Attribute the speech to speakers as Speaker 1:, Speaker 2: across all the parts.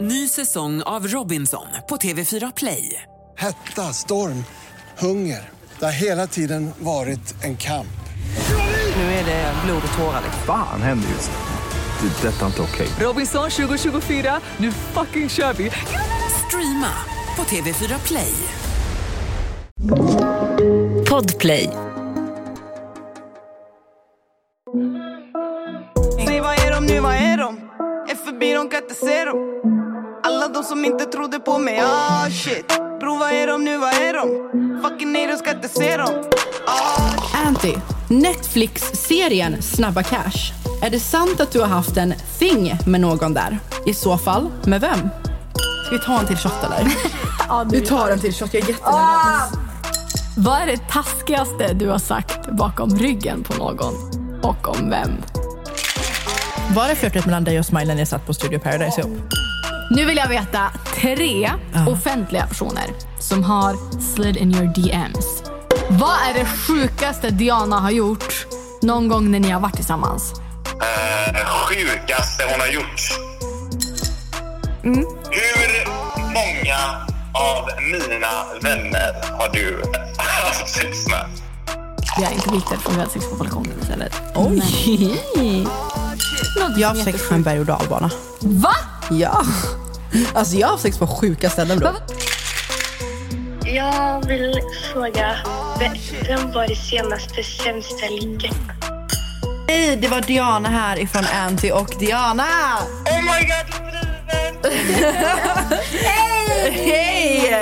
Speaker 1: Ny säsong av Robinson på TV4 Play.
Speaker 2: Hetta, storm, hunger. Det har hela tiden varit en kamp.
Speaker 1: Nu är det blod och tårar.
Speaker 3: Fan händer just nu. Det. är Detta är inte okej.
Speaker 1: Robinson 2024, nu fucking kör vi! Streama på TV4 Play.
Speaker 4: Podplay.
Speaker 5: Nej, vad är de nu, vad är de? Är förbi, de kan inte se dem. Alla de som inte trodde på mig, ah shit. Bro, vad är de nu, vad är de? Fucking nej, de ska inte se dem.
Speaker 6: Anty, Netflix-serien Snabba Cash. Är det sant att du har haft en thing med någon där? I så fall, med vem? Ska vi ta en till shot eller? Vi tar en till shot, jag är jättenervös.
Speaker 7: Vad är det taskigaste du har sagt bakom ryggen på någon? Och om vem?
Speaker 6: Var det flörtet mellan dig och Smile när ni satt på Studio Paradise ihop?
Speaker 7: Nu vill jag veta tre offentliga personer som har slid in your DMs. Vad är det sjukaste Diana har gjort någon gång när ni har varit tillsammans?
Speaker 8: Eh, sjukaste hon har gjort. Hur många av mina vänner har du haft sex med?
Speaker 7: Vi har inte viktat för vi har sex på balkongen istället.
Speaker 6: Oj!
Speaker 7: Något
Speaker 6: Jag har haft sex på en berg och dalbana.
Speaker 7: Va?
Speaker 6: Ja. Alltså jag har haft sex på sjuka ställen bror.
Speaker 9: Jag vill fråga, ve- vem var det senaste sämsta ligget?
Speaker 6: Hej, det var Diana här ifrån Anty och Diana!
Speaker 8: Oh my god, du driver!
Speaker 6: Hej!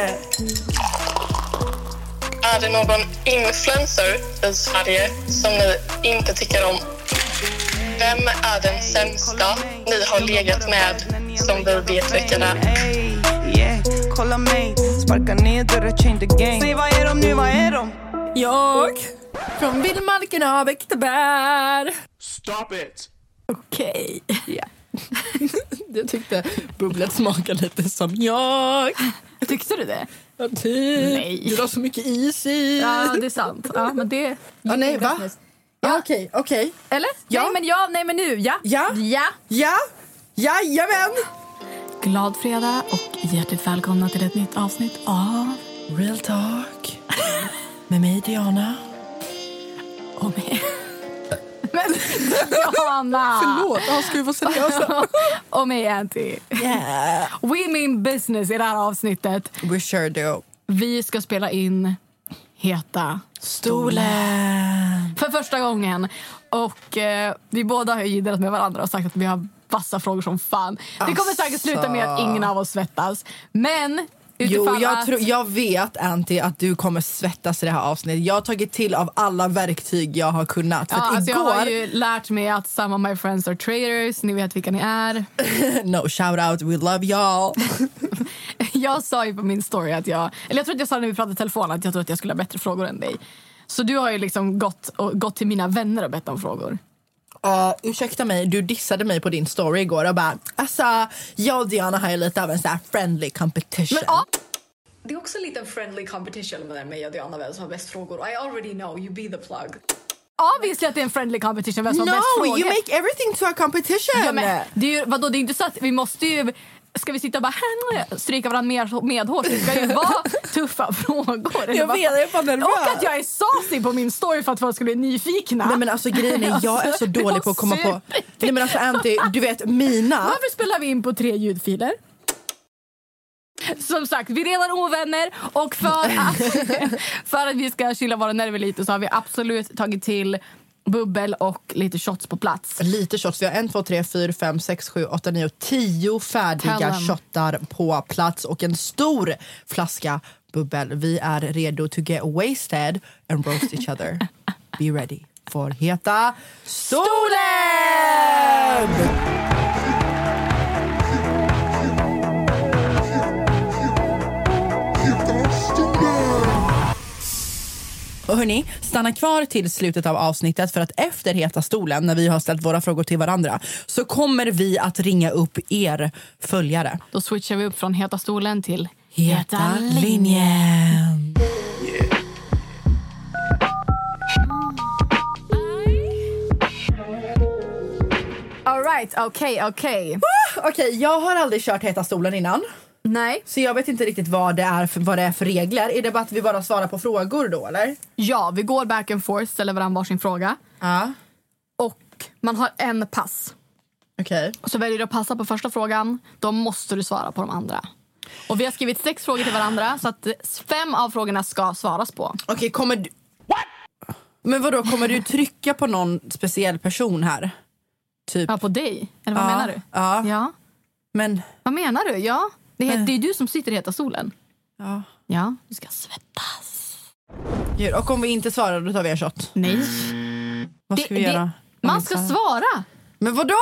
Speaker 9: Är det någon influencer i Sverige som ni inte tycker om? Vem är den sämsta ni har legat med som vi vet vilken är?
Speaker 5: Ey, yeah, kolla mig. Sparka ner dörrar, change the game. Säg, vad är de nu, vad är de?
Speaker 7: Jag från vildmarken av äkta bär.
Speaker 8: Stop it!
Speaker 7: Okej.
Speaker 6: Jag tyckte bubblet smakade lite som jag.
Speaker 7: Tyckte du det?
Speaker 6: Ja, typ.
Speaker 7: Nej.
Speaker 6: Du la så mycket is i.
Speaker 7: Ja, det är sant. Ja, men det...
Speaker 6: Ja, nej, va? Ja, Okej, okej.
Speaker 7: Eller?
Speaker 6: Ja.
Speaker 7: Nej, men ja, nej, men nu. Ja.
Speaker 6: Ja.
Speaker 7: ja.
Speaker 6: Ja, jajamän!
Speaker 7: Glad fredag och hjärtligt välkomna till ett nytt avsnitt av
Speaker 6: Real talk med mig Diana.
Speaker 7: Och med... Men Diana!
Speaker 6: Förlåt, ah, ska vi vara seriösa?
Speaker 7: Och med Anty.
Speaker 6: yeah.
Speaker 7: We mean business i det här avsnittet.
Speaker 6: We sure do.
Speaker 7: Vi ska spela in Heta
Speaker 6: Stolen.
Speaker 7: för första gången. Och eh, Vi båda har ju jiddrat med varandra och sagt att vi har vassa frågor som fan. Det kommer säkert sluta med att ingen av oss svettas. Men
Speaker 6: Jo,
Speaker 7: utifall
Speaker 6: jag,
Speaker 7: att...
Speaker 6: tror- jag vet Anty att du kommer svettas i det här avsnittet. Jag har tagit till av alla verktyg jag har kunnat. För
Speaker 7: Ja,
Speaker 6: att
Speaker 7: alltså
Speaker 6: igår...
Speaker 7: Jag har ju lärt mig att some of my friends are traitors. Ni vet vilka ni är.
Speaker 6: No shout out, we love y'all.
Speaker 7: Jag sa ju på min story att jag... Eller jag tror att jag sa när vi pratade i telefon att jag tror att jag skulle ha bättre frågor än dig. Så du har ju liksom gått, och, gått till mina vänner och bett om frågor.
Speaker 6: Uh, ursäkta mig, du dissade mig på din story igår och bara alltså jag och Diana har ju lite av en sån här friendly competition.
Speaker 7: Men, ja. Det är också en liten friendly competition mellan mig och Diana vem som har bäst frågor. I already know, you be the plug. Obviously att det är en friendly competition vem som har bäst
Speaker 6: no,
Speaker 7: frågor.
Speaker 6: you make everything to a competition!
Speaker 7: ja, men, det är ju, vadå, det är inte så att vi måste ju... Ska vi sitta och bara "Hä?" stryka varandra med, medhårs? Det ska ju vara tuffa frågor. Eller
Speaker 6: jag
Speaker 7: vad
Speaker 6: vet, jag är fan nervös.
Speaker 7: Och att jag är sasig på min story för att folk skulle bli nyfikna.
Speaker 6: Nej men alltså grejen är jag är
Speaker 7: Alltså,
Speaker 6: så dålig på att komma på...
Speaker 7: super-
Speaker 6: Nej men alltså Anty, du vet mina...
Speaker 7: Varför spelar vi in på tre ljudfiler? Som sagt, vi är redan ovänner och för att, för att vi ska chilla våra nerver lite så har vi absolut tagit till bubbel och lite shots på plats.
Speaker 6: Lite shots, vi har en, två, tre, fyra, fem, sex, sju, åtta, nio, tio
Speaker 7: Tell
Speaker 6: färdiga
Speaker 7: them.
Speaker 6: shottar på plats och en stor flaska bubbel. Vi är redo to get wasted and roast each other. Be ready for Heta stolen! Och hörni, stanna kvar till slutet av avsnittet för att efter Heta stolen, när vi har ställt våra frågor till varandra, så kommer vi att ringa upp er följare.
Speaker 7: Då switchar vi upp från heta stolen till
Speaker 6: linjen!
Speaker 7: All right, right, okej, okej.
Speaker 6: Okej, jag har aldrig kört Heta stolen innan.
Speaker 7: Nej.
Speaker 6: Så jag vet inte riktigt vad det är för, vad det är för regler. Är det bara att vi bara svarar på frågor då eller?
Speaker 7: Ja, vi går back and forth, ställer varandra varsin fråga.
Speaker 6: Ja.
Speaker 7: Och man har en pass.
Speaker 6: Okej.
Speaker 7: Och så väljer du att passa på första frågan, då måste du svara på de andra. Och vi har skrivit sex frågor till varandra, så att fem av frågorna ska svaras på.
Speaker 6: Okej, kommer du... Men vadå, kommer du trycka på någon speciell person här? Typ.
Speaker 7: Ja, på dig? Eller vad
Speaker 6: Ja,
Speaker 7: menar du?
Speaker 6: ja.
Speaker 7: ja.
Speaker 6: Men...
Speaker 7: Vad menar du? Ja, det, heter, det är ju du som sitter i heta stolen.
Speaker 6: Ja.
Speaker 7: Ja, du ska svettas.
Speaker 6: Gud, Och om vi inte svarar då tar vi en shot.
Speaker 7: Nej.
Speaker 6: Vad
Speaker 7: Det-
Speaker 6: ska vi
Speaker 7: det-
Speaker 6: göra? Om
Speaker 7: Man
Speaker 6: vi
Speaker 7: ska
Speaker 6: svarar?
Speaker 7: svara!
Speaker 6: Men vadå?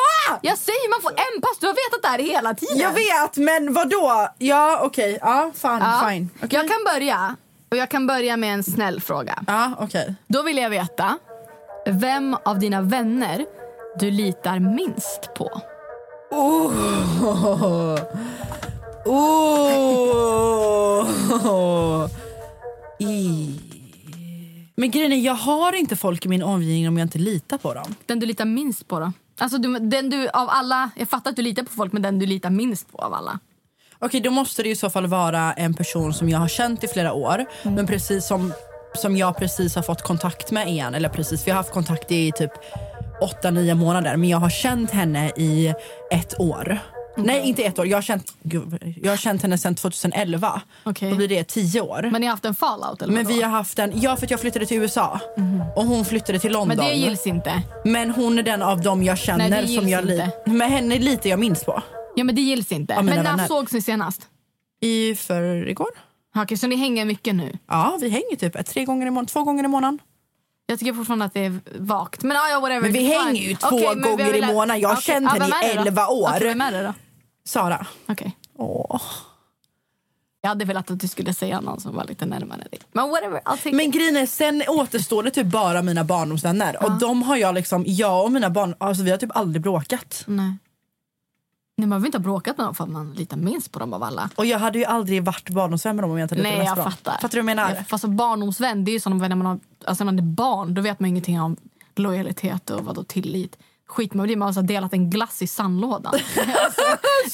Speaker 7: Jag säger man får en pass, du har vetat det här hela tiden.
Speaker 6: Jag vet, men vadå? Ja, okej. Ja, fan,
Speaker 7: Ja.
Speaker 6: fine. Okej.
Speaker 7: Jag kan börja. Och jag kan börja med en snäll fråga.
Speaker 6: Ja, okej.
Speaker 7: Då vill jag veta, vem av dina vänner du litar minst på?
Speaker 6: Oh. I... Men grejen är, jag har inte folk i min omgivning om jag inte litar på dem.
Speaker 7: Den du litar minst på då? Alltså du, den du av alla, jag fattar att du litar på folk men den du litar minst på av alla.
Speaker 6: Okej, då måste det i så fall vara en person som jag har känt i flera år.
Speaker 7: Mm.
Speaker 6: Men precis som, som jag precis har fått kontakt med igen. Eller precis, vi har haft kontakt i typ 8-9 månader. Men jag har känt henne i ett år. Nej, inte ett år. Jag har känt, gud, jag har känt henne sedan 2011.
Speaker 7: Okej.
Speaker 6: Då blir det 10 år.
Speaker 7: Men ni har haft en fallout eller
Speaker 6: Men
Speaker 7: vadå?
Speaker 6: vi har haft en, ja för att jag flyttade till USA och hon flyttade till London.
Speaker 7: Mhm. men det gills inte.
Speaker 6: Men hon är den av dem jag känner
Speaker 7: Nej, det
Speaker 6: som
Speaker 7: gills
Speaker 6: jag li-
Speaker 7: inte.
Speaker 6: Med henne lite jag minst på.
Speaker 7: Ja men det gills inte.
Speaker 6: mina
Speaker 7: men när
Speaker 6: vänner.
Speaker 7: sågs ni senast?
Speaker 6: I förrgår?
Speaker 7: Ja, Okej, så ni hänger mycket nu.
Speaker 6: Ja, vi hänger typ ett- tre gånger i månaden, två gånger i månaden.
Speaker 7: Jag tycker fortfarande att det är vagt. Men, ah, ja, ja, whatever,
Speaker 6: Men vi
Speaker 7: det är fine.
Speaker 6: hänger ju två
Speaker 7: Okej, men vi
Speaker 6: gånger
Speaker 7: vill-
Speaker 6: i månaden. Jag har
Speaker 7: Okej,
Speaker 6: känt henne
Speaker 7: vem
Speaker 6: i
Speaker 7: är det då?
Speaker 6: 11 år.
Speaker 7: Okej, vem är det då?
Speaker 6: Sara.
Speaker 7: Okej.
Speaker 6: Åh.
Speaker 7: Jag hade velat att du skulle säga någon som var lite närmare dig. Men whatever, I'll take
Speaker 6: Men grejen är, sen återstår det typ bara mina barndomsvänner. Och de har jag liksom, jag och mina barn, alltså vi har typ aldrig bråkat.
Speaker 7: Nej. Nej, man vill inte ha bråkat med dem för att man litar minst på dem av alla.
Speaker 6: Och jag hade ju aldrig varit barndomsvän med dem om jag inte hade
Speaker 7: Nej,
Speaker 6: letat
Speaker 7: jag
Speaker 6: mest bra.
Speaker 7: fattar.
Speaker 6: Fattar du vad jag menar?
Speaker 7: Ja, Fast som barndomsvän, det är ju sådana vänner man har, alltså när man är barn, då vet man ingenting om lojalitet och vadå tillit. Skit med det, man har så här delat en glass i sandlådan. alltså,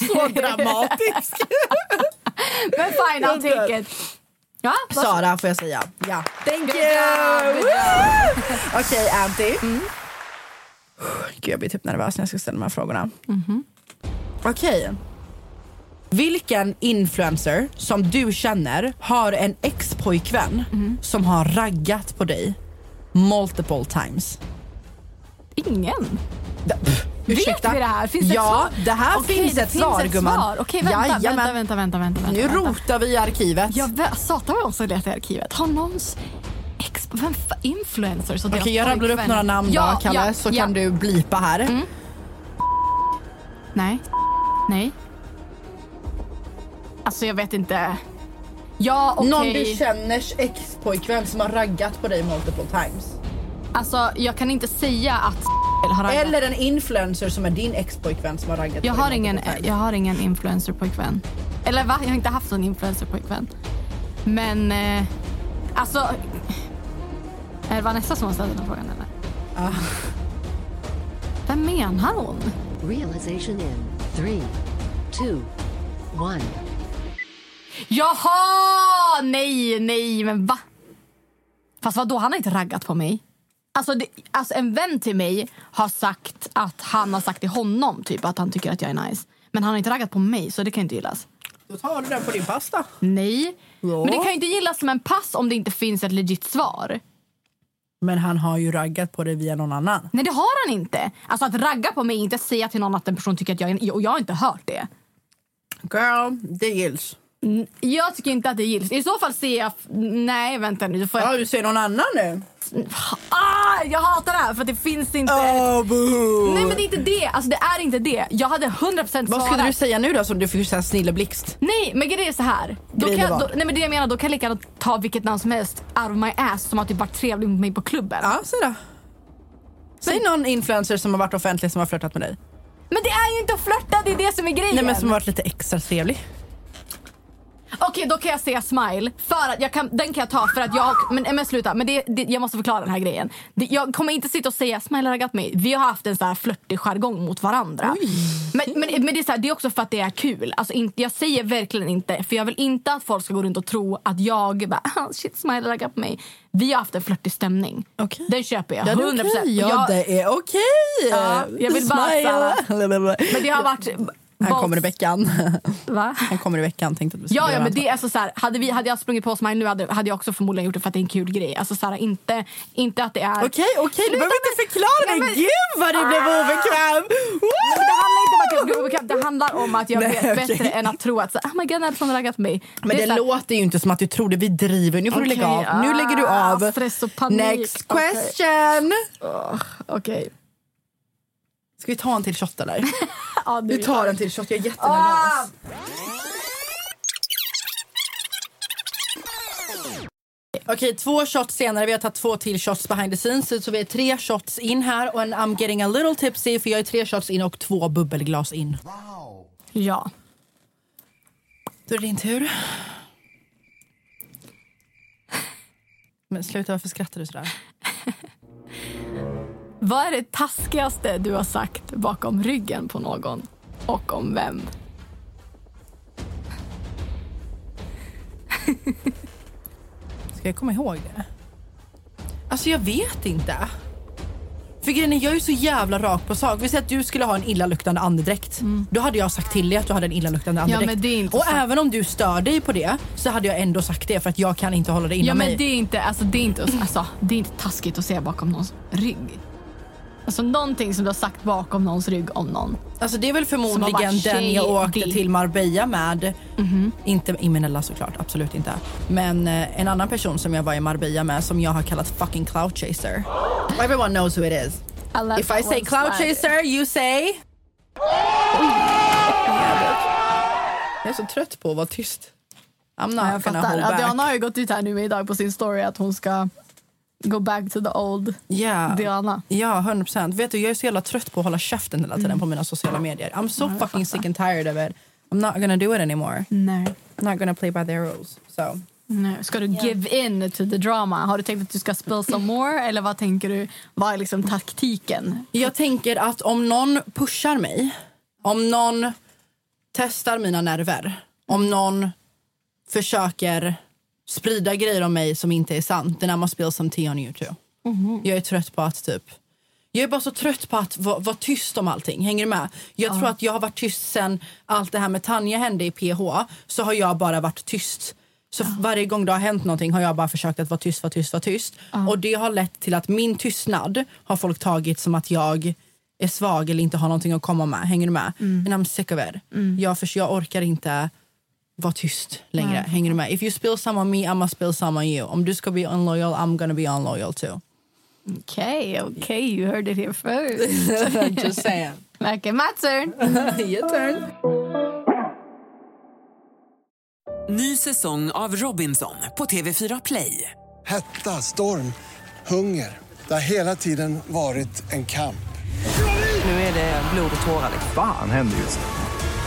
Speaker 6: Så dramatisk.
Speaker 7: men fine, I'll take it. Ja, vad-
Speaker 6: Sara får jag säga. Ja. Thank
Speaker 7: Good
Speaker 6: you!
Speaker 7: job, good
Speaker 6: Woo! Okej, Anty.
Speaker 7: Mm.
Speaker 6: Gud, jag blir typ nervös när jag ska ställa de här frågorna.
Speaker 7: Mhm.
Speaker 6: Okej. Vilken influencer som du känner har en ex-pojkvän
Speaker 7: Mhm.
Speaker 6: som har raggat på dig multiple times?
Speaker 7: ingen.
Speaker 6: D- pff, Ursäkta.
Speaker 7: Vet vi det här? Finns det
Speaker 6: ja,
Speaker 7: ett svar?
Speaker 6: det här
Speaker 7: Okej,
Speaker 6: finns
Speaker 7: det
Speaker 6: ett svar gumman.
Speaker 7: svar. Okej, vänta,
Speaker 6: Jajamän.
Speaker 7: vänta, vänta, vänta, vänta, vänta.
Speaker 6: Nu
Speaker 7: vänta.
Speaker 6: rotar vi i arkivet.
Speaker 7: Jag vä- satan vad jag också letar i arkivet. Har någons ex... Vem fa- influencers och deras
Speaker 6: Okej, jag rabblar upp
Speaker 7: pojkvänner?
Speaker 6: några namn
Speaker 7: ja,
Speaker 6: då, Kalle,
Speaker 7: ja, Mm.
Speaker 6: så
Speaker 7: ja.
Speaker 6: kan du blipa här.
Speaker 7: Nej. Nej. Alltså jag vet inte. Ja, okej.
Speaker 6: Någon du känners ex-pojkvän som har raggat på dig multiple times.
Speaker 7: Alltså jag kan inte säga att har raggat.
Speaker 6: Eller en influencer som är din ex-pojkvän som har raggat
Speaker 7: Jag
Speaker 6: på dig
Speaker 7: har ingen, eh,
Speaker 6: multiple times.
Speaker 7: jag har ingen influencerpojkvän. Eller va? Jag har inte haft någon influencerpojkvän. Men eh, alltså. Är det Vanessa som har ställt den här frågan eller? Vem menar hon?
Speaker 4: Realization in three, two, one.
Speaker 7: Jaha! Nej, nej, men va? Fast vadå, han har inte raggat på mig. Alltså, det, alltså en vän till mig har sagt att han har sagt till honom typ att han tycker att jag är nice. Men han har inte raggat på mig så det kan inte gillas.
Speaker 6: Då tar du den på din pasta.
Speaker 7: Nej.
Speaker 6: Ja.
Speaker 7: Men det kan ju inte gillas som en pass om det inte finns ett legit svar.
Speaker 6: Men han har ju raggat på dig via någon annan.
Speaker 7: Nej det har han inte. Alltså att ragga på mig, inte säga till någon att en person tycker att jag är Och jag har inte hört det.
Speaker 6: Girl, det gills.
Speaker 7: Jag tycker inte att det gills. I så fall ser jag... f- Nej vänta nu, då får jag...
Speaker 6: du ser någon annan nu.
Speaker 7: Ah, jag hatar det här för det finns inte...
Speaker 6: Oh, boo.
Speaker 7: Nej men det är inte det, alltså det är inte det. Jag hade 100% svarat.
Speaker 6: Vad skulle du säga nu då som du fick så här snilleblixt?
Speaker 7: Nej men grejen är så här. Då kan
Speaker 6: Grejen var-
Speaker 7: jag, då, nej men det jag menar, då kan jag lika gärna ta vilket namn som helst out of my ass som har typ varit trevlig mot mig på klubben.
Speaker 6: Ja, säg då. Säg någon influencer som har varit offentlig som har flörtat med dig.
Speaker 7: Men det är ju inte att flörta, det är det som är grejen.
Speaker 6: Nej men som har varit lite extra trevlig.
Speaker 7: Okej, då kan jag säga smile. För att jag kan, den kan jag ta för att jag... Men, men sluta, men det, det, jag måste förklara den här grejen. Det, jag kommer inte sitta och säga smile har raggat mig. Vi har haft en så här flörtig jargong mot varandra. Men, men, men det, är så här, det är också för att det är kul. Alltså, in, jag säger verkligen inte, för jag vill inte att folk ska gå runt och tro att jag bara "Ah, shit smile har raggat på mig. Vi har haft en flörtig stämning.
Speaker 6: Okej.
Speaker 7: Den köper jag,
Speaker 6: Ja, det är
Speaker 7: 100%.
Speaker 6: okej. Ja,
Speaker 7: Jag-
Speaker 6: det är okej.
Speaker 7: Ja, jag vill bara
Speaker 6: Smile.
Speaker 7: men det har varit...
Speaker 6: Han kommer i veckan.
Speaker 7: Va?
Speaker 6: Han kommer i veckan tänkte att vi skulle
Speaker 7: Ja, ja
Speaker 6: göra
Speaker 7: men
Speaker 6: något.
Speaker 7: det är alltså så här, hade, vi, hade jag sprungit på Smile nu hade, hade jag också förmodligen gjort det för att det är en kul grej. Alltså så här, inte, inte att det är...
Speaker 6: Okej, okej, du
Speaker 7: Sluta
Speaker 6: behöver
Speaker 7: med-
Speaker 6: inte förklara
Speaker 7: Ja,
Speaker 6: det.
Speaker 7: men-
Speaker 6: Gud vad du blev obekväm!
Speaker 7: Men Det handlar inte om att jag blir obekväm, det handlar om att jag
Speaker 6: Nej,
Speaker 7: vet
Speaker 6: okej.
Speaker 7: bättre än att tro att så, här, oh my god, den här personen har raggat på mig.
Speaker 6: Men det,
Speaker 7: är så här,
Speaker 6: låter ju inte som att du tror det. Vi driver. Nu får du lägga
Speaker 7: Okej,
Speaker 6: av. Nu lägger du
Speaker 7: ah,
Speaker 6: av.
Speaker 7: stress och panik.
Speaker 6: Next
Speaker 7: Okej.
Speaker 6: question!
Speaker 7: Okej.
Speaker 6: Ska vi ta en till shot eller?
Speaker 7: Ja,
Speaker 6: Vi tar en till shot. Jag är jättenervös. Okej, två shots senare. Vi har tagit två till shots behind the scenes. Så vi är tre shots in här. Och en I'm getting a little tipsy för jag är tre shots in och två bubbelglas in.
Speaker 7: Ja.
Speaker 6: Då är det din tur. Men sluta, varför skrattar du sådär?
Speaker 7: Vad är det taskigaste du har sagt bakom ryggen på någon? Och om vem?
Speaker 6: Ska jag komma ihåg det? Alltså jag vet inte. För grejen är, jag är så jävla rak på sak. Vi säger att du skulle ha en illaluktande andedräkt. Då hade jag sagt till dig att du hade en illaluktande andedräkt.
Speaker 7: Mm. men det är inte
Speaker 6: och
Speaker 7: så-
Speaker 6: även om du stör dig på det så hade jag ändå sagt det för att jag kan inte hålla det inom
Speaker 7: Ja, men
Speaker 6: mig.
Speaker 7: det är, inte, alltså, det, är inte, alltså, det är inte taskigt att säga bakom någons rygg. Alltså någonting som du har sagt bakom någons rygg om någon.
Speaker 6: Alltså det är väl
Speaker 7: Som har
Speaker 6: förmodligen
Speaker 7: varit
Speaker 6: den jag
Speaker 7: tjej,
Speaker 6: åkte
Speaker 7: det- Mhm.
Speaker 6: till Marbella med. Inte Imenella såklart, absolut inte. Men eh, en annan person som jag var i Marbella med som jag har kallat fucking cloud chaser. Everyone knows who it is.
Speaker 7: I love
Speaker 6: If I
Speaker 7: that
Speaker 6: say
Speaker 7: one
Speaker 6: cloud
Speaker 7: slide.
Speaker 6: chaser, you say... Jag är så trött på att vara tyst. I'm not
Speaker 7: Ja, jag
Speaker 6: gonna
Speaker 7: fattar.
Speaker 6: hold back.
Speaker 7: Diana har ju gått ut här nu idag på sin story att hon ska go back to the old.
Speaker 6: Ja.
Speaker 7: Diana.
Speaker 6: Ja, 100 procent. Vet du, jag är så jävla trött på att hålla käften hela tiden på mina sociala medier. I'm so fucking sick and tired of it. I'm not gonna do it anymore.
Speaker 7: Nej.
Speaker 6: I'm not gonna play by their rules. So.
Speaker 7: Nej. Ska du give in to the drama? Har du tänkt att du ska spill some more eller vad tänker du? Vad är liksom taktiken?
Speaker 6: Jag tänker att om någon pushar mig, om någon testar mina nerver, om någon försöker sprida grejer om mig som inte är sant, then I'ma spill some tea on you too. Jag är trött på att typ jag är bara så trött på att vara, vara tyst om allting. Hänger du med? Jag tror att jag har varit tyst sen allt det här med Tanja hände i PH. Så har jag bara varit tyst. Så varje gång det har hänt någonting har jag bara försökt att vara tyst, vara tyst, vara tyst. Och det har lett till att min tystnad har folk tagit som att jag är svag eller inte har någonting att komma med. Hänger du med? Men I'm sick of it. Jag, för, jag orkar inte vara tyst längre. Hänger du med? If you spill some on me, I'ma spill some on you. Om du ska bli unloyal, I'm gonna be unloyal too.
Speaker 7: Okej, okay, okej, you heard it here first.
Speaker 6: Just saying.
Speaker 7: Verkar my turn.
Speaker 6: Your turn.
Speaker 1: Ny säsong av Robinson på TV4 Play.
Speaker 2: Hetta, storm, hunger. Det har hela tiden varit en kamp.
Speaker 10: Nu är det blod och tårar.
Speaker 3: Fan händer just det.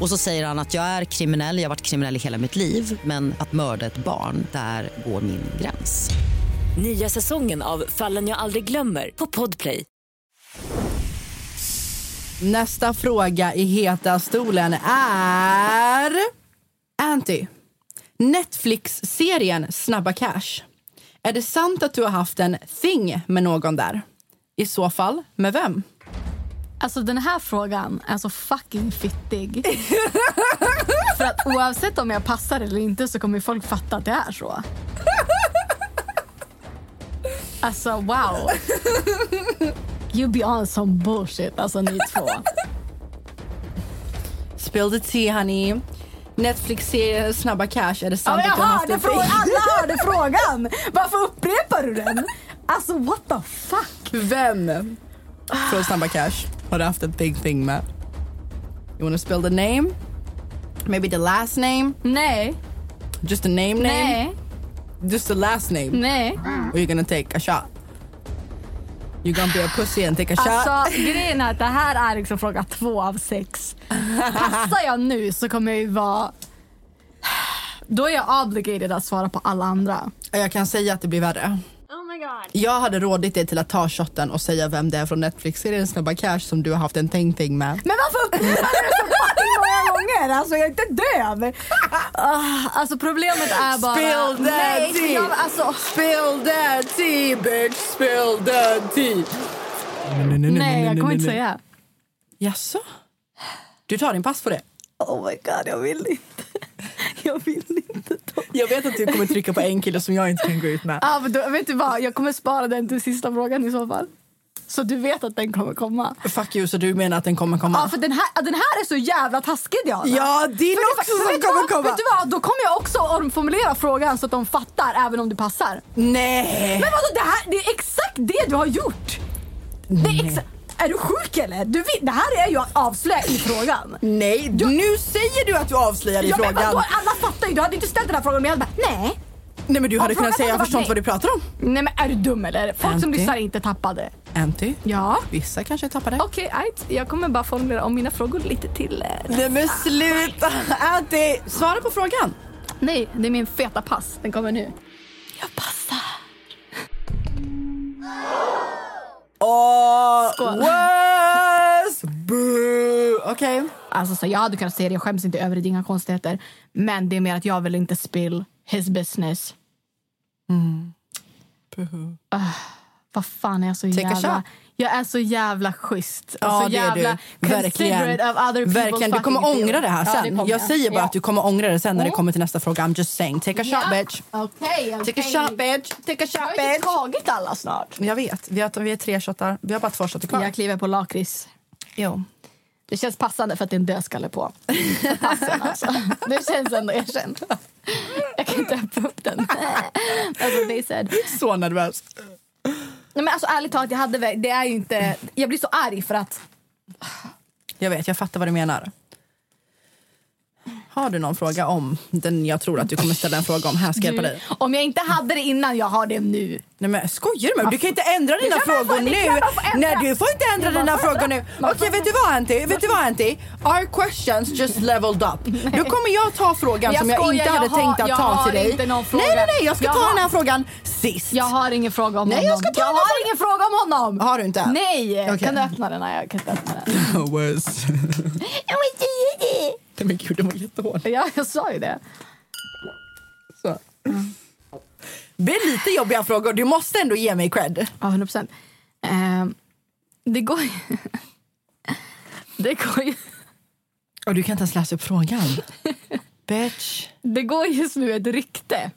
Speaker 11: Och så säger han att jag är kriminell, jag har varit kriminell i hela mitt liv men att mörda ett barn, där går min gräns. Nya säsongen av Fallen jag aldrig glömmer på Podplay.
Speaker 6: Nästa fråga i heta stolen är... Anty, Netflix-serien Snabba Cash. Är det sant att du har haft en thing med någon där? I så fall, med vem?
Speaker 7: Alltså den här frågan är så fucking fittig. För att oavsett om jag passar eller inte så kommer folk fatta att det är så. Alltså wow. You be on some bullshit alltså ni två.
Speaker 6: Spill the tea, honey. Netflix-serien Snabba Cash, är det sant
Speaker 12: Ja,
Speaker 6: att du
Speaker 12: jag
Speaker 6: har haft
Speaker 12: hörde
Speaker 6: en
Speaker 12: frågan,
Speaker 6: fling?
Speaker 12: alla hörde frågan! Varför upprepar du den? Alltså what the fuck?
Speaker 6: Vem? Från Snabba Cash har du haft en thing thing med? You wanna spell the name? Maybe the last name?
Speaker 7: Nej.
Speaker 6: Just the name name?
Speaker 7: Nej.
Speaker 6: Just the last name?
Speaker 7: Nej.
Speaker 6: Or you're gonna take a shot? You're gonna be a pussy and take a shot?
Speaker 7: Alltså grejen är att det här är liksom fråga två av sex. Passar jag nu så kommer jag ju vara... Då är jag obligated att svara på alla andra.
Speaker 6: Jag kan säga att det blir värre.
Speaker 7: Oh my god.
Speaker 6: Jag hade rådit dig till att ta shotten och säga vem det är från Netflix-serien Snabba Cash som du har haft en thing thing med.
Speaker 12: Men varför upprepar du det så fucking många gånger? Alltså jag är inte döv!
Speaker 7: Ah, alltså problemet är bara...
Speaker 6: Spill that
Speaker 7: Nej,
Speaker 6: tea!
Speaker 7: jag, alltså,
Speaker 6: Spill that tea bitch, spill that tea! Nej,
Speaker 7: nej, jag kommer inte säga.
Speaker 6: Jaså? Du tar din pass på det?
Speaker 12: Oh my god, jag vill inte. Jag vill
Speaker 6: Jag vet att du kommer trycka på en kille som jag inte kan gå ut med.
Speaker 7: Ah, men då, vet du vad, jag kommer spara den till sista frågan i så fall. Så du vet att den kommer komma.
Speaker 6: Fuck you, så du menar att den kommer komma?
Speaker 7: Ja, för den här, den här är så jävla taskig Diana.
Speaker 6: Ja, din
Speaker 7: det-
Speaker 6: också
Speaker 7: men
Speaker 6: som
Speaker 7: vet du
Speaker 6: kommer
Speaker 7: vad?
Speaker 6: komma.
Speaker 7: Vet du vad, då kommer jag också omformulera frågan så att de fattar även om du passar.
Speaker 6: Eh. Nej!
Speaker 7: Men vadå, det här det är exakt det du har gjort. Det är, exa- är du sjuk eller? Du vet, det här är ju att avslöja i frågan.
Speaker 6: Nej, nu säger du att du avslöjar i
Speaker 7: ja,
Speaker 6: frågan.
Speaker 7: Men vadå, alla fattar ju, du hade inte ställt den här frågan om jag hade bara nej.
Speaker 6: Nej men du
Speaker 7: Om
Speaker 6: hade
Speaker 7: frågan
Speaker 6: kunnat säga jag
Speaker 7: hade
Speaker 6: förstår
Speaker 7: varit
Speaker 6: inte vad du pratar om.
Speaker 7: Nej men är du dum eller? Folk som
Speaker 6: Anty.
Speaker 7: lyssnar är inte tappade.
Speaker 6: Anty?
Speaker 7: Ja?
Speaker 6: Vissa kanske tappar det.
Speaker 7: Okej, ajt. jag kommer bara formulera om mina frågor lite till. eh,
Speaker 6: Nej men sluta! Anty, svara på frågan.
Speaker 7: Nej, det är min feta pass. Den kommer nu.
Speaker 6: Åh,
Speaker 7: Skål.
Speaker 6: Wes! Boo! Okej.
Speaker 7: Alltså, så jag hade kunnat säga det, jag skäms inte över det, det är inga konstigheter. Men det är mer att jag vill inte spill his business. Ah, vad fan är jag så
Speaker 6: Take a
Speaker 7: jävla...
Speaker 6: shot.
Speaker 7: Jag är så jävla schysst. och
Speaker 6: Ja,
Speaker 7: så
Speaker 6: det är du.
Speaker 7: jävla considerate
Speaker 6: Verkligen.
Speaker 7: Of other people's
Speaker 6: Verkligen. Du kommer
Speaker 7: fucking
Speaker 6: ångra det här
Speaker 7: feelings. Ja,
Speaker 6: sen.
Speaker 7: det kommer
Speaker 6: jag säger bara
Speaker 7: Ja.
Speaker 6: att du kommer ångra det sen när det
Speaker 7: Mm.
Speaker 6: kommer till nästa fråga. I'm just saying. Take a shot
Speaker 7: Ja.
Speaker 6: bitch.
Speaker 7: Okej, okej.
Speaker 6: Take a shot bitch. Take a shot
Speaker 7: Jag har ju
Speaker 6: bitch.
Speaker 7: tagit alla snart.
Speaker 6: Jag vet. Vi har, vi har tre shottar. Vi har bara två shottar kvar.
Speaker 7: Jag kliver på lakrits.
Speaker 6: Jo.
Speaker 7: Det känns passande för att det är en dödskalle på. Passen alltså. Det känns ändå erkänt. Jag kan inte öppna upp den. Alltså, det är sad.
Speaker 6: Så nervös.
Speaker 7: Nej, men alltså, ärligt talat, jag, hade, väl- det är ju inte, jag blir så arg för att...
Speaker 6: Jag vet, jag fattar vad du menar. Har du någon fråga om den jag tror att du kommer ställa en fråga om? Här ska jag hjälpa dig.
Speaker 7: om jag inte hade det innan, jag har det nu.
Speaker 6: Nej men skojar du med mig? Du kan inte ändra
Speaker 7: Det
Speaker 6: dina
Speaker 7: Alltså, kan man
Speaker 6: frågor
Speaker 7: få- det
Speaker 6: nu!
Speaker 7: kan man få ändra.
Speaker 6: Nej du får inte ändra
Speaker 7: Man
Speaker 6: dina
Speaker 7: får ändra.
Speaker 6: frågor nu!
Speaker 7: Man
Speaker 6: Okej
Speaker 7: får
Speaker 6: vet du vad Anty? Vet du vad Anty? Our questions just leveled up. Då kommer jag ta frågan
Speaker 7: Jag
Speaker 6: som jag
Speaker 7: skojar,
Speaker 6: inte
Speaker 7: jag
Speaker 6: hade
Speaker 7: har-
Speaker 6: tänkt
Speaker 7: jag
Speaker 6: att ta
Speaker 7: har
Speaker 6: till dig.
Speaker 7: inte någon fråga.
Speaker 6: Nej nej nej jag ska
Speaker 7: Jag
Speaker 6: ta
Speaker 7: har-
Speaker 6: den här frågan sist.
Speaker 7: Jag har ingen fråga om
Speaker 6: Nej,
Speaker 7: honom.
Speaker 6: jag ska ta
Speaker 7: jag
Speaker 6: den
Speaker 7: har ingen fråga om honom!
Speaker 6: Har du inte?
Speaker 7: Nej!
Speaker 6: Okej.
Speaker 7: Kan du öppna den? Nej, jag kan inte öppna den.
Speaker 6: Wes. Nej men gud den var jättehård.
Speaker 7: Ja, jag sa ju det.
Speaker 6: Så.
Speaker 7: Mm.
Speaker 6: Det är lite jobbiga frågor, du måste ändå ge mig cred.
Speaker 7: Ja, 100 procent. Ehm, det går ju... Det går ju...
Speaker 6: Och du kan inte ens läsa upp frågan. Bitch.
Speaker 7: Det går just nu ett rykte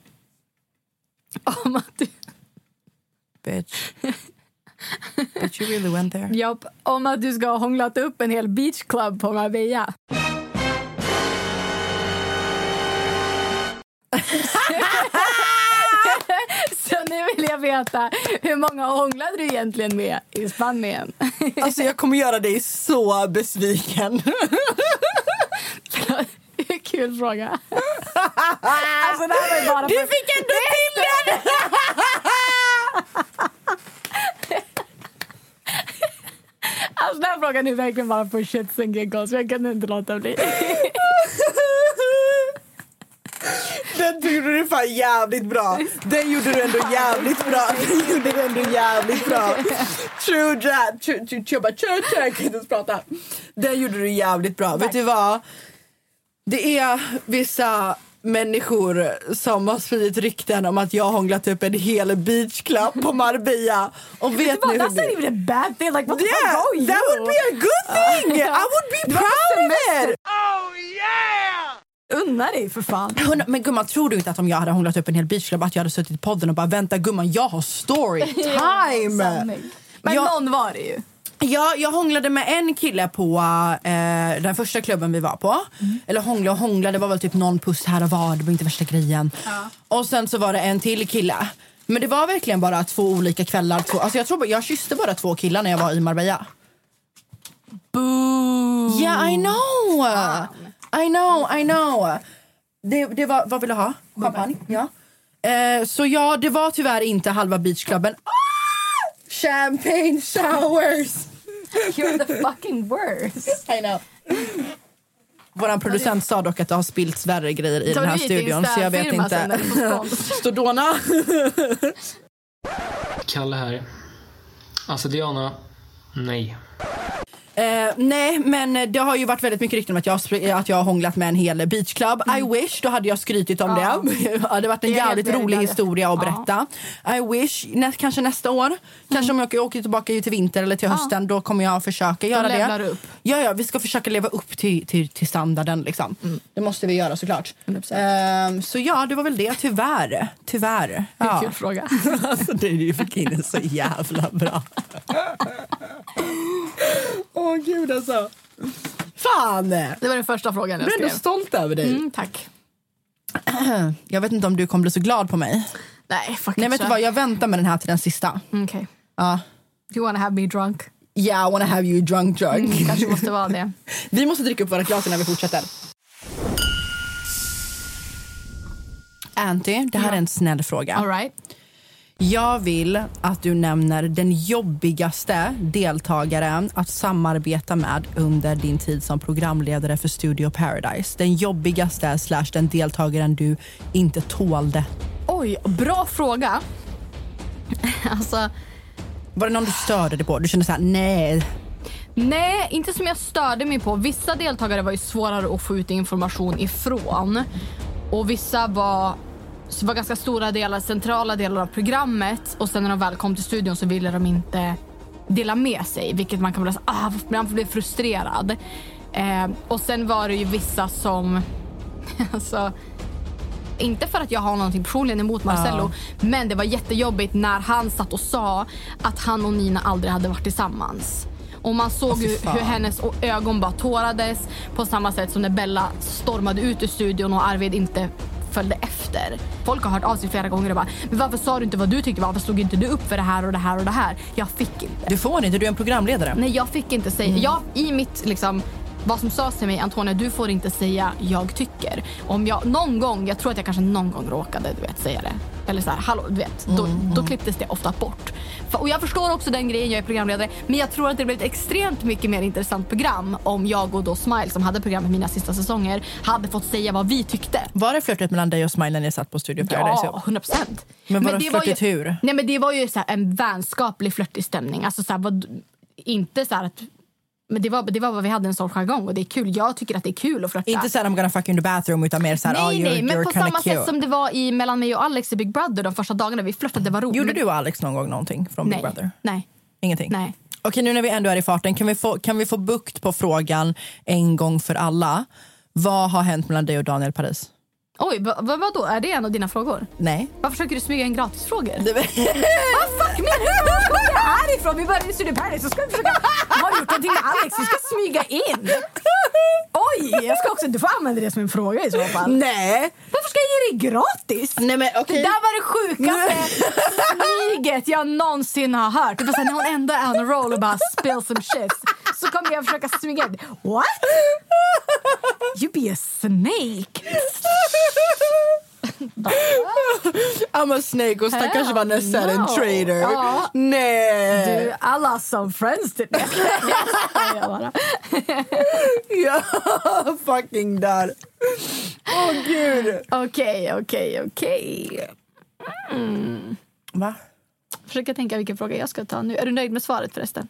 Speaker 7: om att du,
Speaker 6: Bitch. Bitch you really went there.
Speaker 7: Japp, om att du ska ha hånglat upp en hel beachclub på Marbella. Så nu vill jag veta, hur många hånglade du egentligen med i Spanien?
Speaker 6: Alltså jag kommer göra dig så besviken.
Speaker 7: Kul fråga. Alltså det här var ju bara
Speaker 6: Du
Speaker 7: för-
Speaker 6: fick ändå till den!
Speaker 7: Alltså den här frågan är verkligen bara för shits and giggles. Jag kan inte låta bli.
Speaker 6: Den gjorde du fan jävligt bra. Den gjorde du ändå jävligt bra. Den gjorde du ändå jävligt bra. True that. True, true, true, bara, true, true. Jag kan inte ens prata. Den gjorde du jävligt bra. Vet du vad? Det är vissa människor som har spridit rykten om att jag har hånglat upp en hel beachclub på Marbella. Och vet
Speaker 7: But
Speaker 6: nu hur
Speaker 7: that's
Speaker 6: det-
Speaker 7: not even a bad thing. Like what the fuck
Speaker 6: Yeah,
Speaker 7: are you?
Speaker 6: that would be a good thing! I would be
Speaker 7: Det var
Speaker 6: proud of
Speaker 7: semester.
Speaker 6: it!
Speaker 7: Unna dig för fan.
Speaker 6: Hon- Men gumman, tror du inte att om jag hade hånglat upp en hel beachclub att jag hade suttit i podden och bara vänta gumman, jag har story
Speaker 7: Ja,
Speaker 6: time?
Speaker 7: sanning. Men
Speaker 6: Jag-
Speaker 7: någon var det ju.
Speaker 6: Jag, jag hånglade med en kille på eh, den första klubben vi var på. Eller hångla och hångla, det var väl typ någon puss här och var, det var inte värsta grejen. Och sen så var det en till kille. Men det var verkligen bara två olika kvällar. Två, alltså jag, tror, bara- jag kysste bara två killar när jag var i Marbella. Boo! Yeah I know! I know, I know. Det, det var, vad vill du ha? Champagne? Ja. Eh, så ja, det var tyvärr inte halva beachklubben. Ah! Champagne showers!
Speaker 7: You're the fucking worst.
Speaker 6: I know. Vår producent sa dock att det har spillts värre grejer i
Speaker 7: Tar
Speaker 6: den här
Speaker 7: du hit din
Speaker 6: studion så jag vet
Speaker 7: städfirma sen
Speaker 6: inte.
Speaker 7: när du får spons?
Speaker 6: Stordona.
Speaker 13: Kalle här. Alltså Diana, nej.
Speaker 6: Eh, nej, men det har ju varit väldigt mycket rykten om att jag, har spr- att jag har hånglat med en hel beachclub. I wish, då hade jag skrytit om det. det hade varit en
Speaker 1: Mm. Det är
Speaker 6: jävligt
Speaker 1: helt
Speaker 6: rolig
Speaker 1: värdelöst.
Speaker 6: historia att berätta. I wish, nä- kanske nästa år. Kanske om jag åker, åker tillbaka till vinter eller till
Speaker 1: Mm. Ja.
Speaker 6: hösten. Då kommer jag försöka göra
Speaker 1: levlar
Speaker 6: det.
Speaker 1: du upp.
Speaker 6: Ja, ja, vi ska försöka leva upp till, till, till standarden. Liksom.
Speaker 1: Mm.
Speaker 6: Det måste vi göra såklart. Ehm, så ja, det var väl det. Tyvärr. Tyvärr. Ja.
Speaker 1: kul fråga.
Speaker 6: alltså, det är ju fick in en så jävla bra. Åh gud alltså. Fan! Det
Speaker 7: var den första frågan
Speaker 6: Jag
Speaker 7: jag
Speaker 6: är ändå
Speaker 7: skrev.
Speaker 6: stolt över dig.
Speaker 7: Mm, tack.
Speaker 6: Jag vet inte om du kommer bli så glad på mig.
Speaker 7: Nej, fuck
Speaker 6: Nej, vet
Speaker 7: inte.
Speaker 6: du vad? Jag väntar med den här till den sista.
Speaker 7: Mm, Okej.
Speaker 6: Ja.
Speaker 7: You wanna have me drunk?
Speaker 6: Yeah, I wanna have you drunk drunk.
Speaker 7: Mm, kanske måste vara det.
Speaker 6: vi måste dricka upp våra glas innan vi fortsätter. Anty, det här är en snäll fråga. All
Speaker 7: right.
Speaker 6: Jag vill att du nämner den jobbigaste deltagaren att samarbeta med under din tid som programledare för Studio Paradise. Den jobbigaste slash den deltagaren du inte tålde.
Speaker 7: Oj, bra fråga. alltså,
Speaker 6: Var det någon du störde dig på? Du kände så här, nej.
Speaker 7: Nej, inte som jag störde mig på. Vissa deltagare var ju svårare att få ut information ifrån. Och vissa var, så var ganska stora delar, centrala delar av programmet. Och sen när de väl kom till studion så ville de inte dela med sig. Vilket man kan bli, så- ah, man blir frustrerad. Eh, och sen var det ju vissa som, alltså, inte för att jag har någonting personligen emot Marcello, men det var jättejobbigt när han satt och sa att han och Nina aldrig hade varit tillsammans. Och man såg
Speaker 1: Åh, fy
Speaker 7: ju
Speaker 1: fan.
Speaker 7: hur hennes o- ögon bara tårades på samma sätt som när Bella stormade ut ur studion och Arvid inte följde efter. Folk har hört av sig flera gånger och bara “men varför sa du inte vad du tyckte? Varför stod inte du upp för det här och det här och det här?” Jag fick inte.
Speaker 6: Du får inte, du är en programledare.
Speaker 7: Nej, jag fick inte säga. Jag, I mitt liksom, vad som sades till mig, Antonia, du får inte säga jag tycker. Om jag någon gång, jag tror att jag kanske någon gång råkade du vet, säga det. Eller så här, hallå, du vet. Då, då klipptes det ofta bort. För- Och jag förstår också den grejen, jag är programledare. Men jag tror att det blev ett extremt mycket mer intressant program om jag och då Smile, som hade programmet mina sista säsonger, hade fått säga vad vi tyckte.
Speaker 6: Var det flörtigt mellan dig och Smile när ni satt på Studio Paradise?
Speaker 7: Ja, 100 procent.
Speaker 6: Men var det
Speaker 7: var
Speaker 6: flörtigt
Speaker 7: ju,
Speaker 6: hur?
Speaker 7: Nej, men det var ju så här en vänskaplig flörtig stämning. Alltså så här, vad, inte så här att... Men det var, det var vad vi hade en sån jargong och det är kul. Jag tycker att det är kul att flörta.
Speaker 6: Inte såhär I'm gonna fuck you in the bathroom utan mer såhär
Speaker 7: nej,
Speaker 6: oh, you're,
Speaker 7: nej, men
Speaker 6: you're
Speaker 7: på
Speaker 6: kinda
Speaker 7: samma
Speaker 6: cute.
Speaker 7: sätt som det var i mellan mig och Alex i Big Brother de första dagarna vi flörtade. Det var roligt.
Speaker 6: Gjorde du och Alex någon gång någonting från
Speaker 7: nej,
Speaker 6: Big Brother?
Speaker 7: Nej.
Speaker 6: Ingenting?
Speaker 7: Nej.
Speaker 6: Okej, nu när vi ändå är i farten, kan vi, få, kan vi få bukt på frågan en gång för alla? Vad har hänt mellan dig och Daniel Paris?
Speaker 7: Oj, vad, vad då? Är det en av dina frågor?
Speaker 6: Nej.
Speaker 7: Varför försöker du smyga in gratisfrågor? Vad fuck menar du? Var ska vi härifrån? Vi började i Studio Paradise så ska vi försöka...
Speaker 14: Vad har gjort någonting med Alex? Vi ska smyga in. Oj, jag ska också, du får använda det som en fråga i så fall.
Speaker 6: Nej.
Speaker 14: Varför ska jag ge dig gratis?
Speaker 6: Nej, men, okej.
Speaker 7: Det där var det sjukaste smyget jag någonsin har hört. Det var så här, när hon ändå är on a roll och bara spill some shit så kommer jag försöka smyga in. What? You be a snake.
Speaker 6: I'm a snake och stackars Vanessa är en
Speaker 14: no.
Speaker 6: trader.
Speaker 14: Ja.
Speaker 6: Nej!
Speaker 14: Du, I lost some friends today. Jag skojar bara.
Speaker 6: Jag fucking dör. Åh gud.
Speaker 7: Okej, okej, okej. Mm.
Speaker 6: Va?
Speaker 7: Försöker tänka vilken fråga jag ska ta nu. Är du nöjd med svaret förresten?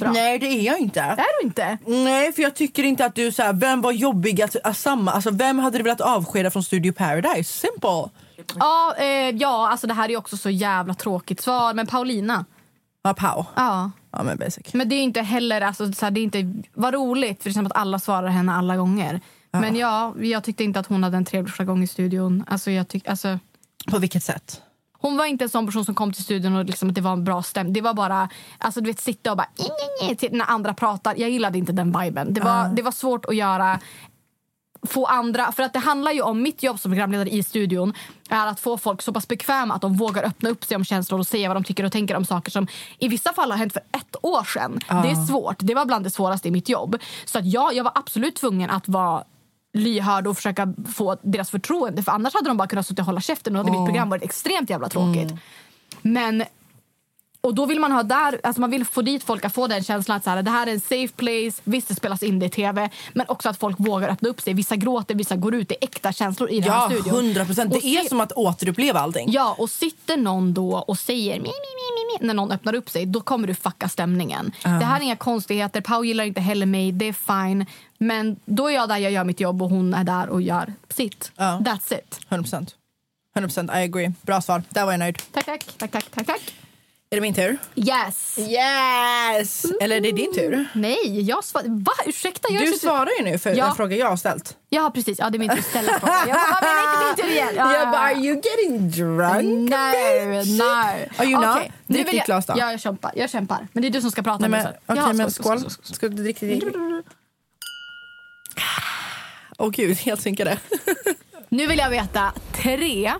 Speaker 6: Nej, det är jag inte.
Speaker 7: Är du inte?
Speaker 6: Nej, för jag tycker inte att du så här, vem var jobbig att att samma, alltså vem hade du velat avskeda från Studio Paradise? Simple.
Speaker 7: Ja, eh, ja alltså det här är också så jävla tråkigt svar. Men Paulina.
Speaker 6: Ja, Pau.
Speaker 7: Ja.
Speaker 6: Ja, men basic.
Speaker 7: Men det är inte heller, alltså, så här, det är inte, vad roligt för det känns som att alla svarar henne alla gånger. Men ja, jag tyckte inte att hon hade en trevlig första gång i studion. Alltså, jag tyck, alltså,
Speaker 6: På vilket sätt?
Speaker 7: Hon var inte en sån person som kom till studion och liksom att det var en bra stämning. Det var bara, alltså du vet sitta och bara "Nj-nj-nj" till när andra pratar. Jag gillade inte den viben. Det var, det var svårt att göra få andra, för att det handlar ju om mitt jobb som programledare i studion är att få folk så pass bekväma att de vågar öppna upp sig om känslor och säga vad de tycker och tänker om saker som i vissa fall har hänt för ett år sedan.
Speaker 6: Ja.
Speaker 7: Det är svårt. Det var bland det svåraste i mitt jobb. Så att ja, jag var absolut tvungen att vara lyhörd och försöka få deras förtroende för annars hade de bara kunnat sitta och hålla käften och då hade
Speaker 6: Mm.
Speaker 7: mitt program varit extremt jävla tråkigt. Men och då vill man ha där, alltså man vill få dit folk att få den känslan att så här, det här är en safe place, visst det spelas in det i tv, men också att folk vågar öppna upp sig. Vissa gråter, vissa går ut, det är äkta känslor i den här
Speaker 6: Ja,
Speaker 7: studion.
Speaker 6: 100 procent.
Speaker 7: Och
Speaker 6: Det är
Speaker 7: se-
Speaker 6: som att återuppleva allting.
Speaker 7: Ja, och sitter någon då och säger mi, mi, mi, mi, mi, när någon öppnar upp sig, då kommer du fucka stämningen.
Speaker 6: Ja.
Speaker 7: Det här är inga konstigheter, Pau gillar inte heller mig, det är fine. Men då är jag där, jag gör mitt jobb och hon är där och gör sitt. That's it.
Speaker 6: 100 procent. 100 procent, I agree. Bra svar. Där var jag nöjd.
Speaker 7: Tack, tack, tack, tack, tack, tack.
Speaker 6: Är det min tur?
Speaker 7: Yes!
Speaker 6: Yes! Eller är det din tur?
Speaker 7: Nej, jag svarar... Va? Ursäkta? Jag
Speaker 6: Du
Speaker 7: sitter-
Speaker 6: svarar ju nu för
Speaker 7: Ja.
Speaker 6: en fråga jag har ställt.
Speaker 7: Ja, precis. Ja, det är min tur att ställa frågan. Jag bara, "Ah, men det är inte min tur igen. Ja,
Speaker 6: Jag bara,
Speaker 7: ja,
Speaker 6: are
Speaker 7: ja.
Speaker 6: you getting drunk?
Speaker 7: Nej, nej.
Speaker 6: Are you not?
Speaker 7: Okej, nu
Speaker 6: Drick
Speaker 7: vill
Speaker 6: ditt
Speaker 7: jag-
Speaker 6: glas då.
Speaker 7: Ja, jag kämpar. Jag kämpar. Men det är du som ska prata
Speaker 6: Nej,
Speaker 7: nu
Speaker 6: men,
Speaker 7: sen.
Speaker 6: okej,
Speaker 7: Ja,
Speaker 6: men skål.
Speaker 7: skål, skål.
Speaker 6: Ska du dricka ditt? Åh gud, helt synkade.
Speaker 7: Nu vill jag veta tre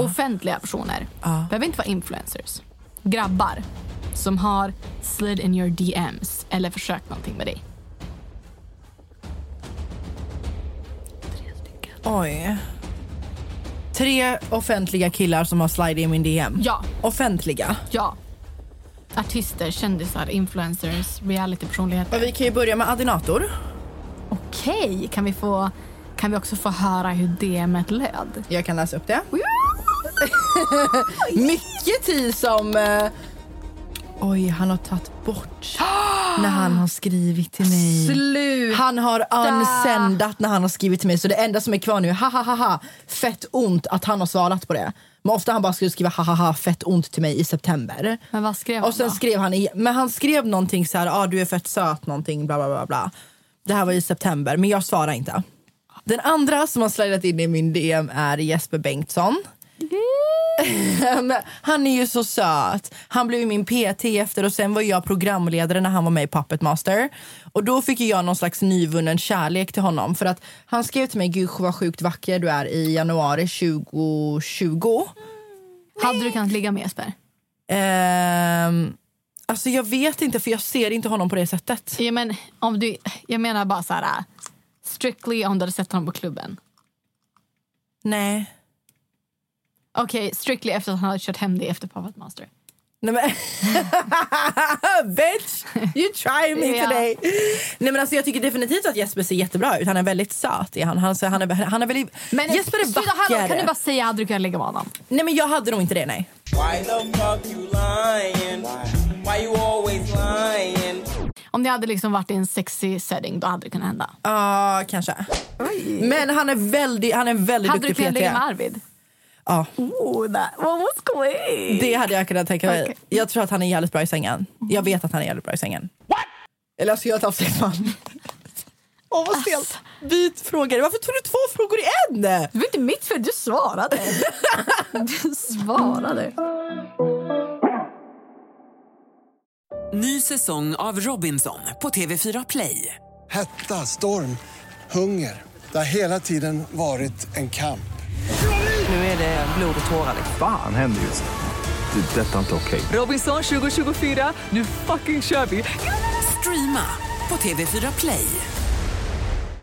Speaker 7: offentliga personer. Behöver inte vara influencers. Grabbar som har slid in your DMs eller försökt någonting med dig.
Speaker 6: Oj. Tre offentliga killar som har slidit i min DM.
Speaker 7: Ja.
Speaker 6: Offentliga.
Speaker 7: Ja. Artister, kändisar, influencers, realitypersonligheter.
Speaker 6: Vi kan ju börja med Adinator.
Speaker 7: Okej, kan vi få... Kan vi också få höra hur DMet löd?
Speaker 6: Jag kan läsa upp det. Mycket tid som... eh, Oj, han har tagit bort när han har skrivit till mig.
Speaker 7: Sluta!
Speaker 6: Han har unsändat när han har skrivit till mig. Så det enda som är kvar nu är ha ha ha ha, fett ont att han har svarat på det. Men ofta han bara skulle skriva ha ha ha, fett ont till mig i september.
Speaker 7: Men vad skrev
Speaker 6: Och sen skrev han, i- men han skrev någonting så här, ah, du är fett söt någonting, bla bla bla bla. Det här var i september, men jag svarar inte. Den andra som har slidat in i min DM är Jesper Bengtsson.
Speaker 7: Mm.
Speaker 6: Men han är ju så söt. Han blev ju min PT efter och sen var jag programledare när han var med i Puppet Master. Och då fick ju jag någon slags nyvunnen kärlek till honom för att han skrev till mig gud vad sjukt vacker du är i januari 2020.
Speaker 7: Hade du kunnat ligga med Jesper?
Speaker 6: Ehm, alltså jag vet inte för jag ser inte honom på det sättet.
Speaker 7: Ja, men, om du, jag menar bara så här... äh, Strictly om du hade sett honom på klubben.
Speaker 6: Nej.
Speaker 7: Okej, strictly efter att han hade kört hem dig efter Puppet Master.
Speaker 6: Nej, men Bitch, you try me
Speaker 7: Ja.
Speaker 6: today. Nej, men alltså, jag tycker definitivt att Jesper ser jättebra ut. Han är väldigt söt. Är han. Han, så han, är, han är väldigt...
Speaker 7: Men
Speaker 6: Jesper är
Speaker 7: sluta, hallå,
Speaker 6: vacker.
Speaker 7: Kan du bara säga hade du kunnat ligga med honom?
Speaker 6: Nej, men jag hade nog inte det, nej.
Speaker 15: Why the fuck you lying? Why you always lying?
Speaker 7: Om ni hade liksom varit i en sexy setting, då hade det kunnat hända.
Speaker 6: Ja, kanske. Men han är väldigt, han är en väldigt
Speaker 7: hade du
Speaker 6: duktig
Speaker 7: kunnat
Speaker 6: PT.
Speaker 7: ligga med Arvid?
Speaker 6: Ja.
Speaker 7: Oh, that one was great.
Speaker 6: Det hade jag kunnat tänka mig. Jag tror att han är jävligt bra i sängen. Jag vet att han är jävligt bra i sängen. Eller alltså jag har haft sex man. Åh vad stelt. Byt fråga. Alltså. Varför tog du två frågor i en? Det
Speaker 7: var inte mitt fel, du svarade. du svarade.
Speaker 1: Ny säsong av Robinson på TV4 Play.
Speaker 2: Hetta, storm, hunger. Det har hela tiden varit en kamp.
Speaker 1: Nu är det blod och tårar. liksom.
Speaker 3: Fan händer just det. Det är detta inte okej.
Speaker 1: Robinson 2024, nu fucking kör vi! Streama på TV4 Play.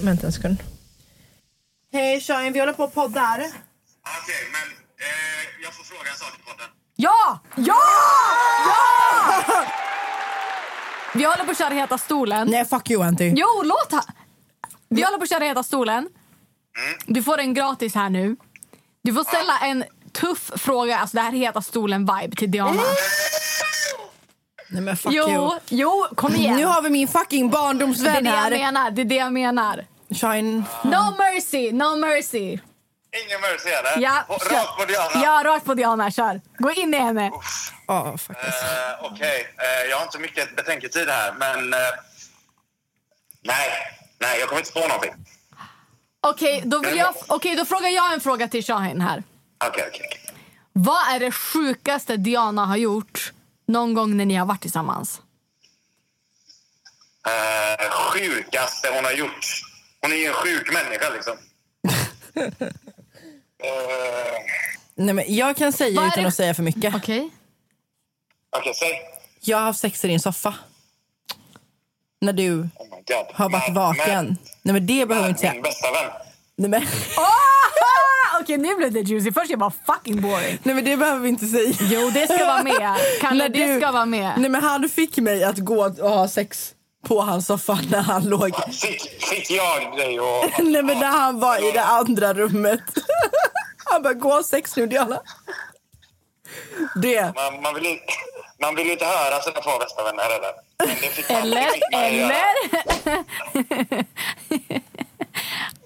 Speaker 6: Vänta en sekund. Hej tjejen, vi håller på och poddar.
Speaker 8: eh,
Speaker 7: Ja! Ja! Ja! Vi håller på att köra Heta stolen.
Speaker 6: Nej, fuck you Anty.
Speaker 7: Jo, låt ha. Vi håller på att köra Heta stolen. Du får en gratis här nu. Du får ställa en tuff fråga. Alltså det här är heta stolen-vibe till Diana.
Speaker 6: Nej men fuck
Speaker 7: Jo,
Speaker 6: you.
Speaker 7: jo, kom igen.
Speaker 6: Nu har vi min fucking
Speaker 7: Det är
Speaker 6: barndomsvän
Speaker 7: det jag
Speaker 6: här.
Speaker 7: menar. Det är det jag menar.
Speaker 6: Shine.
Speaker 7: No mercy, no mercy.
Speaker 8: Ingen mercy eller?
Speaker 7: Ja,
Speaker 8: På-
Speaker 7: kör.
Speaker 8: Rakt på Diana?
Speaker 7: Ja, rakt på Diana. Kör. Gå in i henne.
Speaker 6: Ja, faktiskt.
Speaker 8: Eh, Okej, eh, jag har inte mycket betänketid här, men... eh, nej, nej, jag kommer inte på någonting.
Speaker 7: Okej, då, vill jag, okej, då frågar jag en fråga till Shahin här.
Speaker 8: Okej, okej. okej.
Speaker 7: Vad är det sjukaste Diana har gjort någon gång när ni har varit tillsammans?
Speaker 8: Eh, sjukaste hon har gjort. Hon är ju en sjuk människa liksom. Eh,
Speaker 6: Nej, men jag kan säga
Speaker 7: Vad är
Speaker 6: utan
Speaker 7: det-
Speaker 6: att säga för mycket.
Speaker 7: Okej.
Speaker 8: Okej, säg.
Speaker 6: Jag har haft sex i din soffa. När du
Speaker 8: Oh God.
Speaker 6: har varit vaken. Nej men det behöver vi inte
Speaker 8: Min
Speaker 6: säga.
Speaker 8: bästa vän.
Speaker 6: Nej men,
Speaker 16: Ah! Okej, nu blev det juicy. Först jag bara fucking boring.
Speaker 6: nej men det behöver vi inte säga.
Speaker 7: Jo det ska vara med. Kalle, det ska vara med.
Speaker 6: Nej men han fick mig att gå och ha sex på hans soffa när han låg.
Speaker 8: Fick, fick jag dig och...
Speaker 6: Nej men när han var i det andra rummet. Han bara gå och ha sex nu Diana. Det.
Speaker 8: Man, man, vill, ju- man vill ju inte höra sina två bästa vänner eller? Men det fick man-
Speaker 7: Eller?
Speaker 8: det fick man ju göra.
Speaker 7: Eller?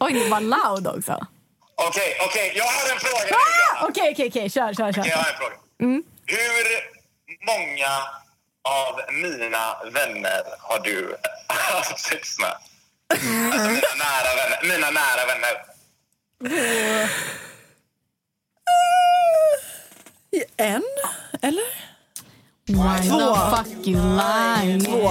Speaker 7: Oj, det var loud också.
Speaker 8: Okej, okej, jag har en fråga. till dig, Diana.
Speaker 7: Ah! Okej, okej, okej. Kör, kör, kör.
Speaker 8: Okej, jag har en fråga. Hur många av mina vänner har du haft sex med? Alltså mina nära vänner. Mina nära vänner.
Speaker 6: I En? Eller?
Speaker 7: Why
Speaker 6: Två.
Speaker 7: the fuck you lying?
Speaker 6: Två.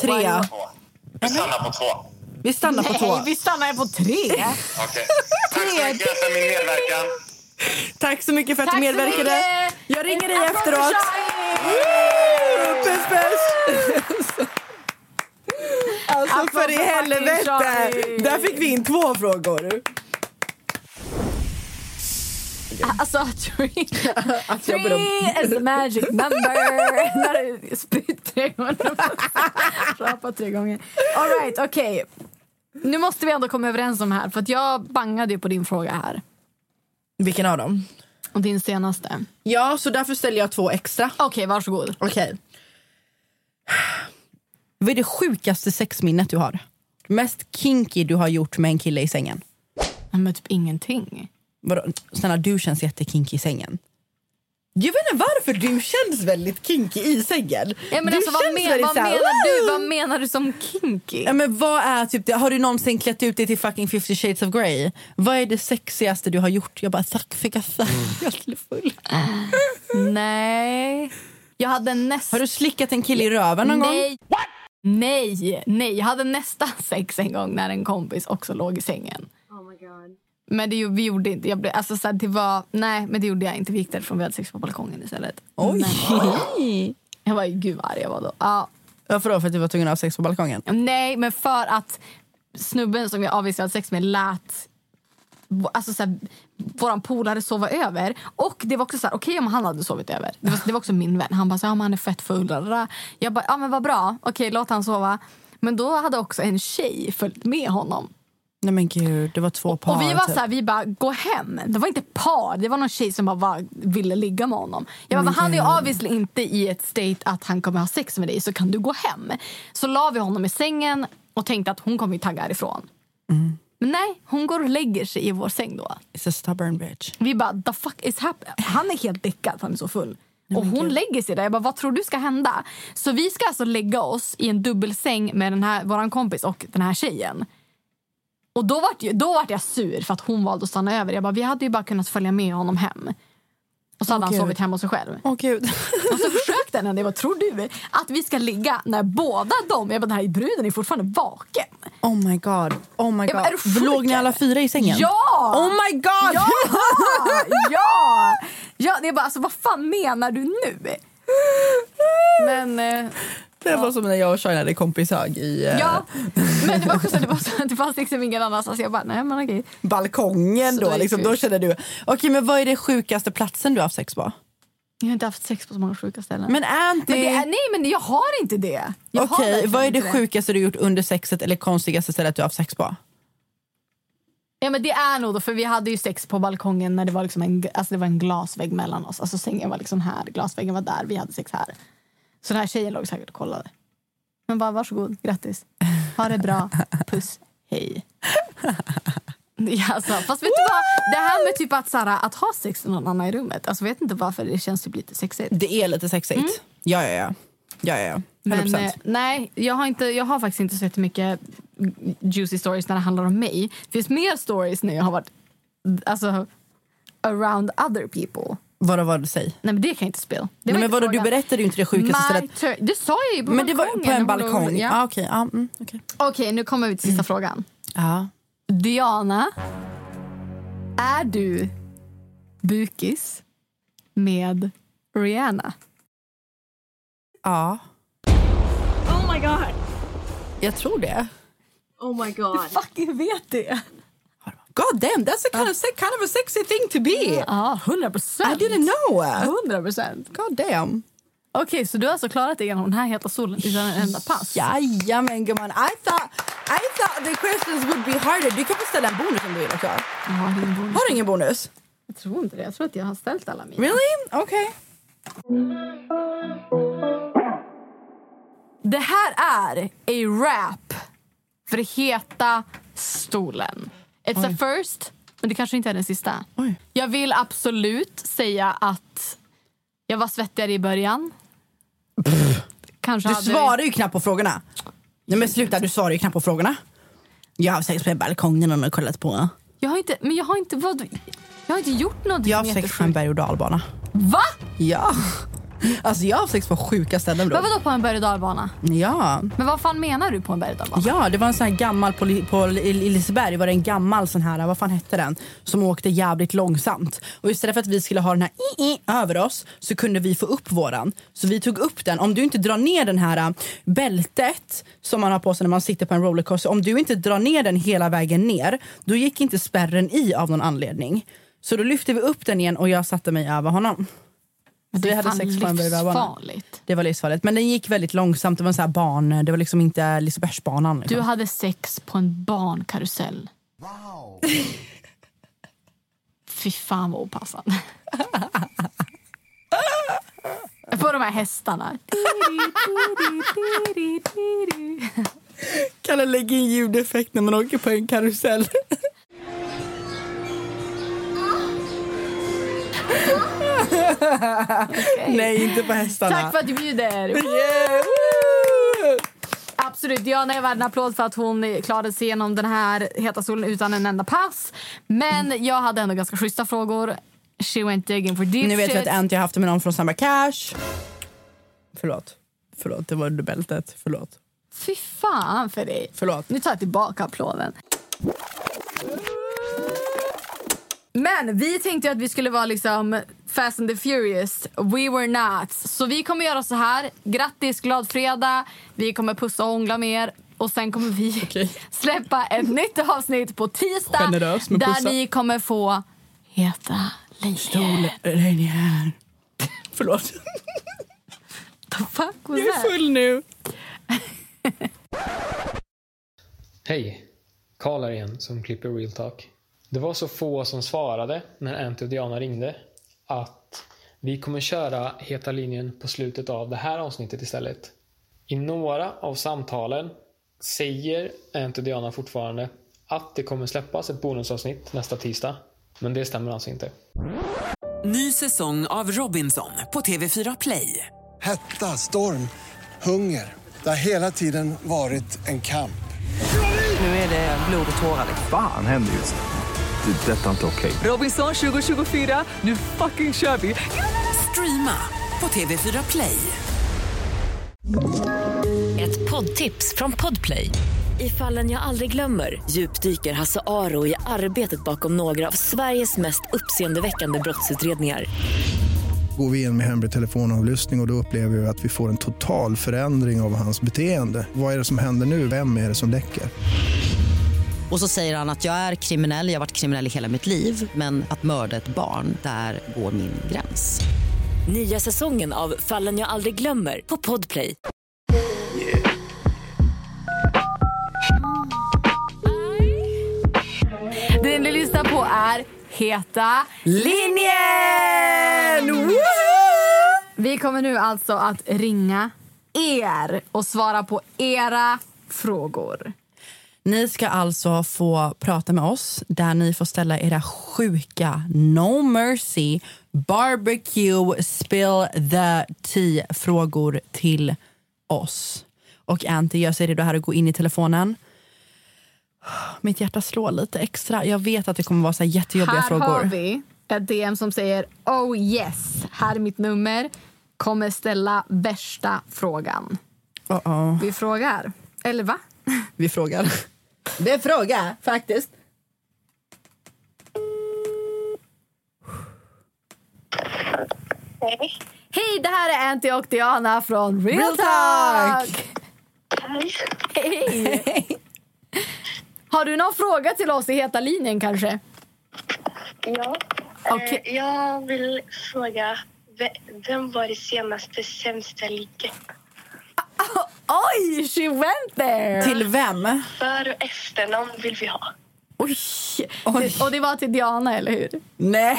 Speaker 6: Tre.
Speaker 7: Why-
Speaker 8: Vi stannar på två.
Speaker 6: Vi stannar på två.
Speaker 7: Nej, vi stannar på tre.
Speaker 8: Okej. Tack så mycket för min medverkan.
Speaker 6: Tack så mycket för att
Speaker 7: Tack
Speaker 6: du
Speaker 7: så
Speaker 6: medverkade.
Speaker 7: mycket.
Speaker 6: Jag ringer dig
Speaker 7: En applåd för
Speaker 6: efteråt. Woo! Puss puss! Alltså
Speaker 7: Applåd
Speaker 6: för i
Speaker 7: för fucking
Speaker 6: helvete!
Speaker 7: Charlie.
Speaker 6: Där fick vi in två frågor.
Speaker 7: Alltså, three,
Speaker 6: jag ber om-
Speaker 7: three is the magic number. När du spytt tre gånger. Rapa tre gånger. All right, okej. Nu måste vi ändå komma överens om här, för att jag bangade ju på din fråga här.
Speaker 6: Vilken av dem?
Speaker 7: Och din senaste.
Speaker 6: Ja, så därför ställer jag två extra.
Speaker 7: Okej, varsågod.
Speaker 6: Okej. Vad är det sjukaste sexminnet du har? Mest kinky du har gjort med en kille i sängen?
Speaker 7: Nej, men typ ingenting.
Speaker 6: Vadå? Snälla, du känns jättekinky i sängen. Jag vet inte varför du känns väldigt kinky i sängen.
Speaker 7: Ja, men
Speaker 6: du
Speaker 7: alltså, vad,
Speaker 6: känns
Speaker 7: men,
Speaker 6: väldigt
Speaker 7: vad
Speaker 6: så här,
Speaker 7: menar du?
Speaker 6: "Wow!"
Speaker 7: Vad menar du som kinky?
Speaker 6: Ja, men vad är typ det? Har du någonsin klätt ut dig till fucking 50 shades of grey? Vad är det sexigaste du har gjort? Jag bara tack för kaffet. Jag skulle full.
Speaker 7: Nej. Jag hade nästan...
Speaker 6: Har du slickat en kille i röven någon gång?
Speaker 7: Nej. Nej, nej. Jag hade nästan sex en gång när en kompis också låg i sängen.
Speaker 6: Oh
Speaker 7: Men det, ju- vi gjorde inte... Jag blev, alltså, så här, det var, nej, men det gjorde jag inte. Vi gick därifrån. Vi hade sex på balkongen istället.
Speaker 6: Oj.
Speaker 7: Men, jag var gud vad arg jag var då. Ja,
Speaker 6: Varför då? För att du var tvungen att ha sex på balkongen?
Speaker 7: nej, men för att snubben som jag avvisade hade sex med lät Alltså så här, våran polare sova över. Och det var också så här, okej om han hade sovit över. Det var, det var också min vän. Han bara så här, ja, men han är fett full. da, da, da." Jag bara, ja men vad bra. Okej, låt han sova. Men då hade också en tjej följt med honom.
Speaker 6: Nej men gud, det var två par.
Speaker 7: Och vi var
Speaker 6: typ.
Speaker 7: så här, vi bara, gå hem. Det var inte par, det var någon tjej som bara var, ville ligga med honom. Jag bara, men han är ju obviously inte i ett state att han kommer ha sex med dig, så kan du gå hem? Så la vi honom i sängen och tänkte att hon kommer ju tagga härifrån. Men nej, hon går och lägger sig i vår säng då.
Speaker 6: It's a stubborn bitch.
Speaker 7: Vi bara, the fuck is happening? Han är helt däckad, han är så full. Och hon lägger sig där. Jag bara, vad tror du ska hända? Så vi ska alltså lägga oss i en dubbelsäng med den här, våran kompis och den här tjejen. Och då vart, ju- då vart jag sur för att hon valde att stanna över. Jag bara, vi hade ju bara kunnat följa med honom hem. Och så hade
Speaker 6: Åh,
Speaker 7: han
Speaker 6: Gud.
Speaker 7: sovit hemma hos sig själv.
Speaker 6: Åh gud.
Speaker 7: Och så försökte han, jag bara, tror du att vi ska ligga när båda de, jag bara, den här bruden är fortfarande vaken.
Speaker 6: Oh my god. Oh my
Speaker 7: Ja, men är du
Speaker 6: god.
Speaker 7: sjuk,
Speaker 6: Låg ni alla
Speaker 7: eller?
Speaker 6: fyra i sängen?
Speaker 7: Ja!
Speaker 6: Oh my god!
Speaker 7: Ja! ja! ja det är bara, alltså, vad fan menar du nu? Men, eh,
Speaker 6: Det var som när jag och Shine hade kompishög i eh,
Speaker 7: ja. men det var också så, det, var så, det fanns liksom ingen annanstans. Jag bara, nej men okej.
Speaker 6: balkongen.
Speaker 7: Så
Speaker 6: Då,
Speaker 7: då gick
Speaker 6: liksom,
Speaker 7: vi
Speaker 6: då
Speaker 7: ut.
Speaker 6: kände du, okej men vad är det sjukaste platsen du har haft sex på?
Speaker 7: Jag har inte haft sex på så många sjuka ställen.
Speaker 6: Men är inte...
Speaker 7: Men det är, nej men jag har inte det. Jag har
Speaker 6: Okej,
Speaker 7: verkligen
Speaker 6: vad är det
Speaker 7: inte
Speaker 6: sjukaste du gjort under sexet eller konstigaste stället du har haft sex på?
Speaker 7: Ja men det är nog då, för vi hade ju sex på balkongen när det var liksom en, alltså det var en glasvägg mellan oss. Alltså sängen var liksom här, glasväggen var där, vi hade sex här. Så den här tjejen låg säkert och kollade. Men bara varsågod, grattis. Ha det bra, puss, hej. Ja, alltså, fast vet du vad? Det här med typ att, såhär, att ha sex med någon annan i rummet, alltså, vet inte varför det känns typ lite sexigt.
Speaker 6: Det är lite sexigt. Mm. Ja, ja, ja. ja, ja, ja. 100%.
Speaker 7: Men, eh, nej, jag har, inte, jag har faktiskt inte så mycket juicy stories när det handlar om mig. Det finns mer stories när jag har varit alltså, around other people.
Speaker 6: Vadå, vad säg?
Speaker 7: Nej men det kan jag inte spela.
Speaker 6: Det Nej, men vadå, du berättade ju inte det sjukaste
Speaker 7: stället. Det sa jag ju på
Speaker 6: Men det var
Speaker 7: balkongen
Speaker 6: på en
Speaker 7: när hon låg-
Speaker 6: balkong.
Speaker 7: Ja.
Speaker 6: Ja, okej. Ja, mm, okej.
Speaker 7: Okej, nu kommer vi till sista frågan.
Speaker 6: Ja.
Speaker 7: Diana, är du bukis med Rihanna?
Speaker 6: Ja.
Speaker 17: Oh my god.
Speaker 6: Jag tror det.
Speaker 17: Oh my god.
Speaker 18: fucking vet det.
Speaker 6: God damn, that's a kind of, se- kind of a sexy thing to be.
Speaker 7: Ja, 100 procent.
Speaker 6: I didn't know.
Speaker 7: 100 procent.
Speaker 6: God damn.
Speaker 7: Okej, så du har alltså klarat dig genom den här heta solen utan en enda pass?
Speaker 6: Jajamän, gumman. I thought, I thought the questions would be harder. Du kan få ställa en bonus om du vill också. Har du ingen bonus?
Speaker 7: Jag tror inte det. Jag tror att jag har ställt alla mina.
Speaker 6: Really? Okej.
Speaker 7: Det här är a rap för heta stolen. It's a first, men det kanske inte är den sista. Jag vill absolut säga att jag var svettigare i början. Kanske
Speaker 6: Du
Speaker 7: hade-
Speaker 6: svarar ju knappt på frågorna. Nej men sluta, du svarar ju knappt på frågorna. Jag har sex på balkongen och kollat på.
Speaker 7: Jag har inte, men jag har inte, vad, jag har inte gjort något
Speaker 6: Jag har sex på en berg och dalbana.
Speaker 7: Va?
Speaker 6: Ja. Alltså jag har sex på sjuka ställen
Speaker 7: Men
Speaker 6: bror.
Speaker 7: vadå på en berg och dalbana?
Speaker 6: Ja.
Speaker 7: Men vad fan menar du på en berg och dalbana?
Speaker 6: Ja, det var en sån här gammal på, Li- på Li- Liseberg var det en gammal sån här, vad fan hette den, som åkte jävligt långsamt. Och istället för att vi skulle ha den här i, i, över oss så kunde vi få upp våran. Så vi tog upp den. Om du inte drar ner den här ä, bältet som man har på sig när man sitter på en rollercoaster, om du inte drar ner den hela vägen ner, då gick inte spärren i av någon anledning. Så då lyfte vi upp den igen och jag satte mig över honom.
Speaker 7: Men det är
Speaker 6: vi hade
Speaker 7: fan
Speaker 6: sex på en berg-och-dalbana.
Speaker 7: livsfarligt.
Speaker 6: Det var livsfarligt. Men den gick väldigt långsamt. Det var en sån här barn, det var liksom inte Lisebergsbanan. Liksom.
Speaker 7: Du hade sex på en barnkarusell. Wow. Fy fan vad opassande. på de här hästarna.
Speaker 6: Kalle lägga in ljudeffekt när man åker på en karusell. Nej, inte på hästarna.
Speaker 7: Tack för att du bjuder! Absolut, Diana är värd en applåd för att hon klarade sig igenom den här heta solen utan en enda pass.
Speaker 6: Mm.
Speaker 7: Men jag hade ändå ganska schyssta frågor. She went digging for deep
Speaker 6: Nu vet vi
Speaker 7: shit.
Speaker 6: att Anty har haft det med någon från Samba Cash. Förlåt. Förlåt, det var under bältet. Förlåt.
Speaker 7: Fy fan för dig.
Speaker 6: Förlåt.
Speaker 7: Nu tar jag tillbaka applåden. Men vi tänkte ju att vi skulle vara liksom Fast and the Furious. We were not. Så vi kommer göra så här. Grattis, glad fredag. Vi kommer pussa och hångla med er. Och sen kommer vi släppa ett nytt avsnitt på tisdag.
Speaker 6: Generös med
Speaker 7: där
Speaker 6: pussar.
Speaker 7: ni kommer få heta linjer.
Speaker 6: Linjär. Förlåt.
Speaker 7: Fuck
Speaker 6: Jag är full nu.
Speaker 13: Hej! Karl här igen som klipper Real Talk. Det var så få som svarade när Anty och Diana ringde att vi kommer köra Heta linjen på slutet av det här avsnittet istället. I några av samtalen säger Anty och Diana fortfarande att det kommer släppas ett bonusavsnitt nästa tisdag. Men det stämmer alltså inte.
Speaker 1: Ny säsong av Robinson på TV4 Play.
Speaker 2: Hetta, storm, hunger. Det har hela tiden varit en kamp.
Speaker 1: Nu är det blod och tårar.
Speaker 3: Fan händer just det. Det är detta inte okej.
Speaker 1: Robinson 2024, nu fucking kör vi! Streama på TV4 Play.
Speaker 11: Ett poddtips från Podplay. I fallen jag aldrig glömmer djupdyker Hasse Aro i arbetet bakom några av Sveriges mest uppseendeväckande brottsutredningar.
Speaker 19: Går vi in med hemlig telefonavlyssning och, och då upplever vi att vi får en total förändring av hans beteende. Vad är det som händer nu? Vem är det som läcker?
Speaker 11: Och så säger han att jag är kriminell, jag har varit kriminell i hela mitt liv men att mörda ett barn, där går min gräns. Nya säsongen av Fallen jag aldrig glömmer på Podplay.
Speaker 7: Det är en rösta på är Heta linjen! Vi kommer nu alltså att ringa er och svara på era frågor.
Speaker 6: Ni ska alltså få prata med oss där ni får ställa era sjuka No Mercy Barbecue Spill the Tea-frågor till oss. Och Anty, jag säger det här och gå in i telefonen. Mitt hjärta slår lite extra. Jag vet att det kommer vara så här jättejobbiga
Speaker 7: här
Speaker 6: frågor.
Speaker 7: har vi ett DM som säger Oh yes, här är mitt nummer. Kommer ställa värsta frågan.
Speaker 6: Uh -oh.
Speaker 7: Vi frågar. Eller va?
Speaker 6: Vi frågar.
Speaker 15: Det är en fråga, faktiskt.
Speaker 7: Hej. Hej, det här är Anty och Diana från Real,
Speaker 15: Real
Speaker 7: Talk!
Speaker 15: Talk.
Speaker 20: Hej.
Speaker 7: Hej! Har du någon fråga till oss i Heta linjen kanske?
Speaker 20: Ja.
Speaker 7: Okej.
Speaker 20: Eh, Jag vill fråga, ve- vem var det senaste sämsta ligget?
Speaker 7: Oj, she went there!
Speaker 6: Till vem?
Speaker 20: För och efternamn vill vi ha.
Speaker 7: Oj. Och det var till Diana, eller hur?
Speaker 15: Nej!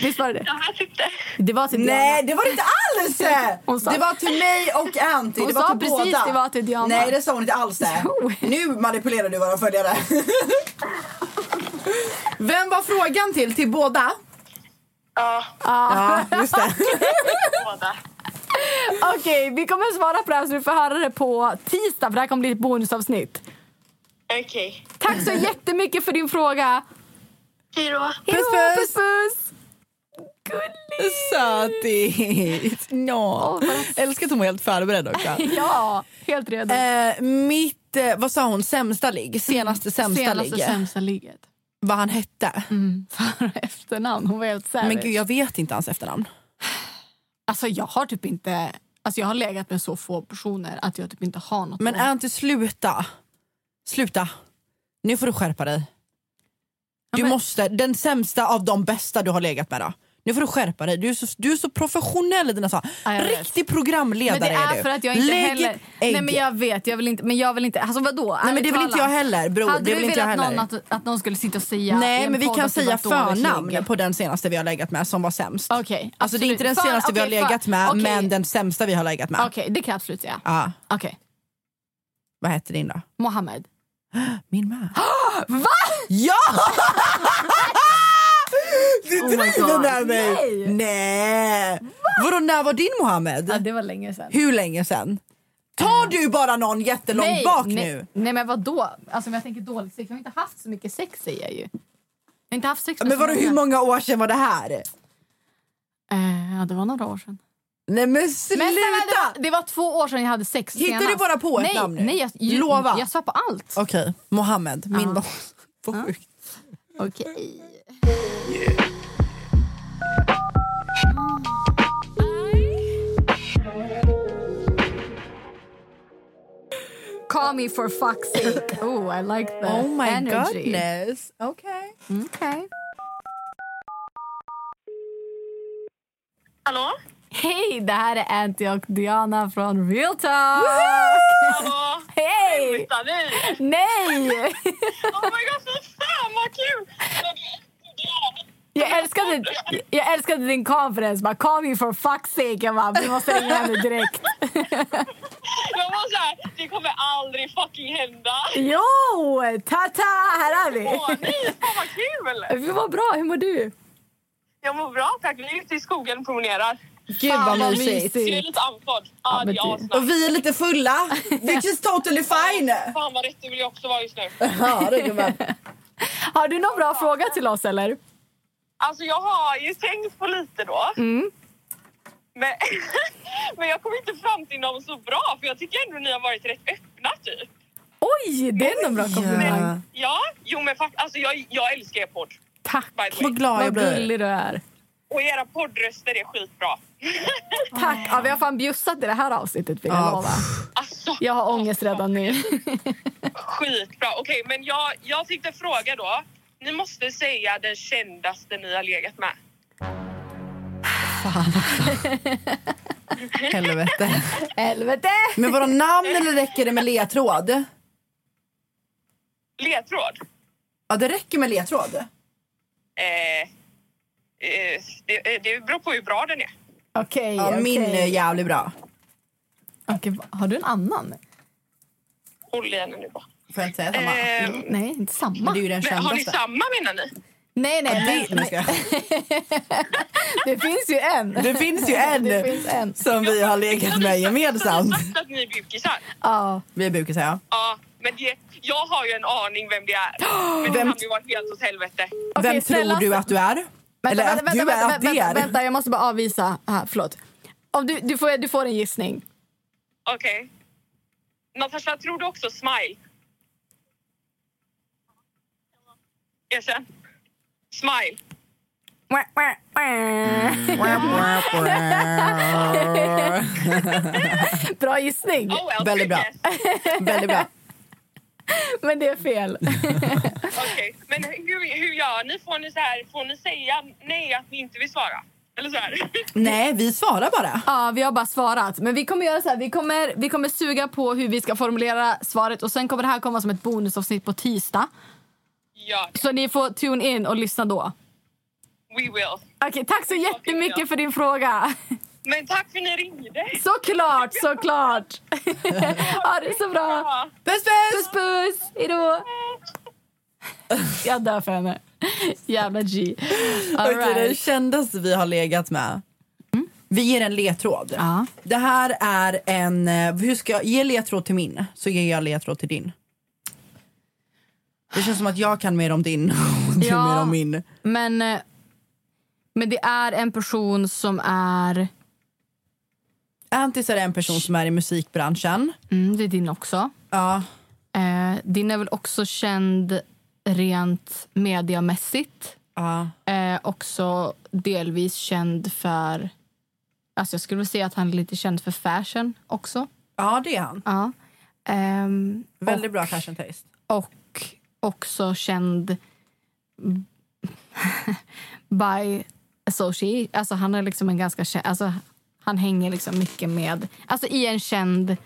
Speaker 7: Visst var det det?
Speaker 20: Jag tyckte.
Speaker 7: Det var till Diana.
Speaker 15: Nej, det var det inte alls!
Speaker 7: Hon sa-
Speaker 15: Det var till mig och Anty.
Speaker 7: Hon
Speaker 15: det var
Speaker 7: sa
Speaker 15: till
Speaker 7: precis
Speaker 15: båda.
Speaker 7: det var till Diana.
Speaker 15: Nej, det sa hon inte alls. Nu manipulerar du våra följare.
Speaker 6: Vem var frågan till? Till båda?
Speaker 20: Ja.
Speaker 7: Ja.
Speaker 15: Ja, just det.
Speaker 20: Båda.
Speaker 7: Okej, vi kommer svara på det här så du får höra det på tisdag för det här kommer bli ett bonusavsnitt.
Speaker 20: Okej.
Speaker 7: Tack så jättemycket för din fråga.
Speaker 20: Hej då.
Speaker 7: Hej då,
Speaker 6: Puss,
Speaker 7: puss,
Speaker 6: puss.
Speaker 7: puss. Gulligt.
Speaker 6: Sötis! No. Älskar att hon var helt förberedd också.
Speaker 7: Ja, helt redo.
Speaker 6: Eh, mitt, eh, vad sa hon, sämsta ligg? Senaste sämsta
Speaker 7: Senaste
Speaker 6: ligg?
Speaker 7: sämsta Mm. ligget.
Speaker 6: Vad han hette?
Speaker 7: För och efternamn. Hon var helt savage.
Speaker 6: Men gud, jag vet inte hans efternamn.
Speaker 7: Alltså jag har typ inte... Alltså jag har legat med så få personer att jag typ inte har något.
Speaker 6: Men
Speaker 7: namn.
Speaker 6: Anty, sluta. Sluta. Nu får du skärpa dig. Du måste, den sämsta av de bästa du har legat med då. Nu får du skärpa dig. Du är så, du är så professionell i dina svar.
Speaker 7: Ja, jag vet.
Speaker 6: Riktig programledare
Speaker 7: men det är
Speaker 6: du.
Speaker 7: för att jag inte
Speaker 6: Lägg
Speaker 7: heller...
Speaker 6: ett ägg.
Speaker 7: Nej men jag vet, jag vill inte... Men jag vill inte... Alltså vadå?
Speaker 6: Nej, men
Speaker 7: Ärligt
Speaker 6: det vill inte
Speaker 7: talat.
Speaker 6: jag heller, bror.
Speaker 7: Hade
Speaker 6: Det
Speaker 7: du
Speaker 6: vill inte jag
Speaker 7: velat någon
Speaker 6: heller.
Speaker 7: att, att någon skulle sitta och säga i
Speaker 6: Nej
Speaker 7: en
Speaker 6: men vi
Speaker 7: podd
Speaker 6: kan
Speaker 7: att det var
Speaker 6: säga
Speaker 7: ett dåligt ligg?
Speaker 6: förnamn på den senaste vi har legat med som var sämst.
Speaker 7: Okej.
Speaker 6: Alltså det är
Speaker 7: absolut.
Speaker 6: inte den
Speaker 7: För-
Speaker 6: senaste vi har
Speaker 7: okej, för-
Speaker 6: legat med
Speaker 7: okej.
Speaker 6: men den sämsta vi har legat med.
Speaker 7: Okej, det kan jag absolut säga.
Speaker 6: Ja,
Speaker 7: Okej.
Speaker 6: vad hette din då?
Speaker 7: Mohammed.
Speaker 6: Min med.
Speaker 7: Va?
Speaker 6: Ja! Du
Speaker 7: Oh my
Speaker 6: driver
Speaker 7: God.
Speaker 6: med mig!
Speaker 7: Nej.
Speaker 6: Nej! Vadå när var din Mohammed?
Speaker 7: Ja, det var länge sedan.
Speaker 6: Hur länge sedan? Tar du bara någon jättelångt
Speaker 7: nej,
Speaker 6: bak
Speaker 7: nej,
Speaker 6: nu?
Speaker 7: Nej men vadå? Alltså om jag tänker dåligt sex, jag har inte haft så mycket sex säger jag ju. Jag har inte haft sex med
Speaker 6: Men
Speaker 7: så
Speaker 6: vadå hur många år sedan var det här?
Speaker 7: Eh, ja, det var några år sedan.
Speaker 6: Nej men sluta!
Speaker 7: Men sen, det, var, det var två år sedan jag hade sex
Speaker 6: Hittar
Speaker 7: senast.
Speaker 6: du bara på ett
Speaker 7: nej,
Speaker 6: namn nu?
Speaker 7: Nej, jag, ju,
Speaker 6: Lova.
Speaker 7: jag sa på allt.
Speaker 6: Okej, Mohammed. Min
Speaker 7: Ja.
Speaker 6: var... Vad sjukt.
Speaker 7: Okej. Call me for fuck's sake. Oh, I like the
Speaker 6: Oh my
Speaker 7: energy.
Speaker 6: goodness. Okay.
Speaker 7: Okay.
Speaker 20: Hallå?
Speaker 7: Hej, det här är Anty och Diana från Real Talk!
Speaker 20: Hallå?
Speaker 7: Hej!
Speaker 20: Vänta, nej. Oh
Speaker 7: Nej!
Speaker 20: my god, fy fan vad kul!
Speaker 7: Jag älskade, jag älskade din konferens. Bara, call me for fuck's sake. Jag bara, vi måste ringa henne direkt.
Speaker 20: Jag var såhär, det kommer aldrig fucking hända.
Speaker 7: Jo! Tata, här är vi!
Speaker 20: Åh nej, fan vad kul!
Speaker 7: Vi var bra. Hur mår du?
Speaker 20: Jag mår bra tack, vi är ute i skogen och promenerar.
Speaker 6: Gud vad mysigt.
Speaker 20: Jag är lite andfådd. Ja, det är asnice.
Speaker 6: Och vi är lite fulla, which is totally fine.
Speaker 20: Fan vad rätt det vill jag också vara just nu.
Speaker 6: Ja, det är bra.
Speaker 7: Har du någon bra fråga till oss? eller?
Speaker 20: Alltså jag har ju tänkt på lite då.
Speaker 7: Mm.
Speaker 20: Men, men jag kom inte fram till någon så bra för jag tycker ändå ni har varit rätt öppna typ.
Speaker 7: Oj, det är en bra komplimang.
Speaker 20: Ja, jo men fakt- alltså jag, jag älskar er podd.
Speaker 7: Tack!
Speaker 20: By the way.
Speaker 6: Vad glad jag
Speaker 7: Vad
Speaker 6: blir.
Speaker 7: gullig du är.
Speaker 20: Och era poddröster är skitbra.
Speaker 7: Tack! Ja, vi har fan bjussat i det här avsnittet. Vill jag,
Speaker 6: Ja.
Speaker 7: lova. jag har ångest redan nu.
Speaker 20: Alltså, Skitbra. Okej, men jag, jag tänkte fråga då. Ni måste säga den kändaste ni har legat med.
Speaker 6: Helvete.
Speaker 7: Helvete!
Speaker 6: Men vadå namn eller räcker det med ledtråd?
Speaker 20: Ledtråd? Ja, det räcker med ledtråd.
Speaker 21: Eh, eh, det, det beror på hur bra den är.
Speaker 20: Okej. ja, Min eh,
Speaker 7: okej.
Speaker 20: är jävligt bra.
Speaker 7: Okej, har du en annan?
Speaker 21: Håll i henne nu bara.
Speaker 20: Får jag inte säga samma?
Speaker 7: Eh,
Speaker 21: Ehm,
Speaker 7: nej, inte samma.
Speaker 20: Men det är ju den
Speaker 21: Men, har ni
Speaker 20: kändaste.
Speaker 21: samma menar ni?
Speaker 7: Nej, nej.
Speaker 20: Nej,
Speaker 7: men-
Speaker 20: jag skojar.
Speaker 7: Det finns ju en.
Speaker 20: Det finns ju en,
Speaker 7: Det finns en.
Speaker 20: som vi har legat med gemensamt.
Speaker 21: Att ni är bukisar?
Speaker 7: Ja.
Speaker 20: Vi är bukisar, ja.
Speaker 21: Ja, men det, jag har ju en aning vem det är. Men det
Speaker 20: Vem-
Speaker 21: hade ju varit helt åt helvete.
Speaker 20: Vem tror du att du är? Eller att du är att det
Speaker 7: vänta,
Speaker 20: är?
Speaker 7: vänta, jag måste bara avvisa. Här, förlåt. Om du, du, får, du får en gissning.
Speaker 21: Okej. Natasha, tror du också Smile? Erkänn. Smile.
Speaker 7: Bra gissning.
Speaker 21: Oh well,
Speaker 20: Väldigt bra. Väldigt bra.
Speaker 7: Men det är fel.
Speaker 21: Okej, men hur, hur gör ni? Får ni, så här, får ni säga nej att ni inte vill svara? Eller så här.
Speaker 20: Nej, vi svarar bara.
Speaker 7: Ja, vi har bara svarat. Men vi kommer göra så här, vi kommer, vi kommer suga på hur vi ska formulera svaret och sen kommer det här komma som ett bonusavsnitt på tisdag.
Speaker 21: Ja,
Speaker 7: Så ni får tune in och lyssna då.
Speaker 21: we will.
Speaker 7: Okej, tack så jättemycket för din fråga.
Speaker 21: Men tack för att ni ringde.
Speaker 7: Såklart, såklart. ha det så bra.
Speaker 20: Puss, puss!
Speaker 7: Puss, puss. Hejdå. Jag dör för henne. Jävla G. All
Speaker 20: Okej, Den
Speaker 7: right.
Speaker 20: kändaste vi har legat med.
Speaker 7: Mm.
Speaker 20: Vi ger en ledtråd. Det här är en... eh, Hur ska jag, ge ledtråd till min, så ger jag ledtråd till din. Det känns som att jag kan mer om din och du
Speaker 7: Ja.
Speaker 20: mer om min.
Speaker 7: Men, eh, men det är en person som är...
Speaker 20: Antis är en person som är i musikbranschen.
Speaker 7: Mm, det är din också.
Speaker 20: Ja.
Speaker 7: Eh, din är väl också känd rent mediamässigt.
Speaker 20: Ja.
Speaker 7: Eh, också delvis känd för... Alltså jag skulle väl säga att han är lite känd för fashion också.
Speaker 20: ja, det är han.
Speaker 7: Ja. Ehm,
Speaker 20: Väldigt
Speaker 7: och,
Speaker 20: bra fashion taste.
Speaker 7: Och också känd by association. Alltså han är liksom en ganska känd... Alltså han hänger liksom mycket med... Alltså i en känd...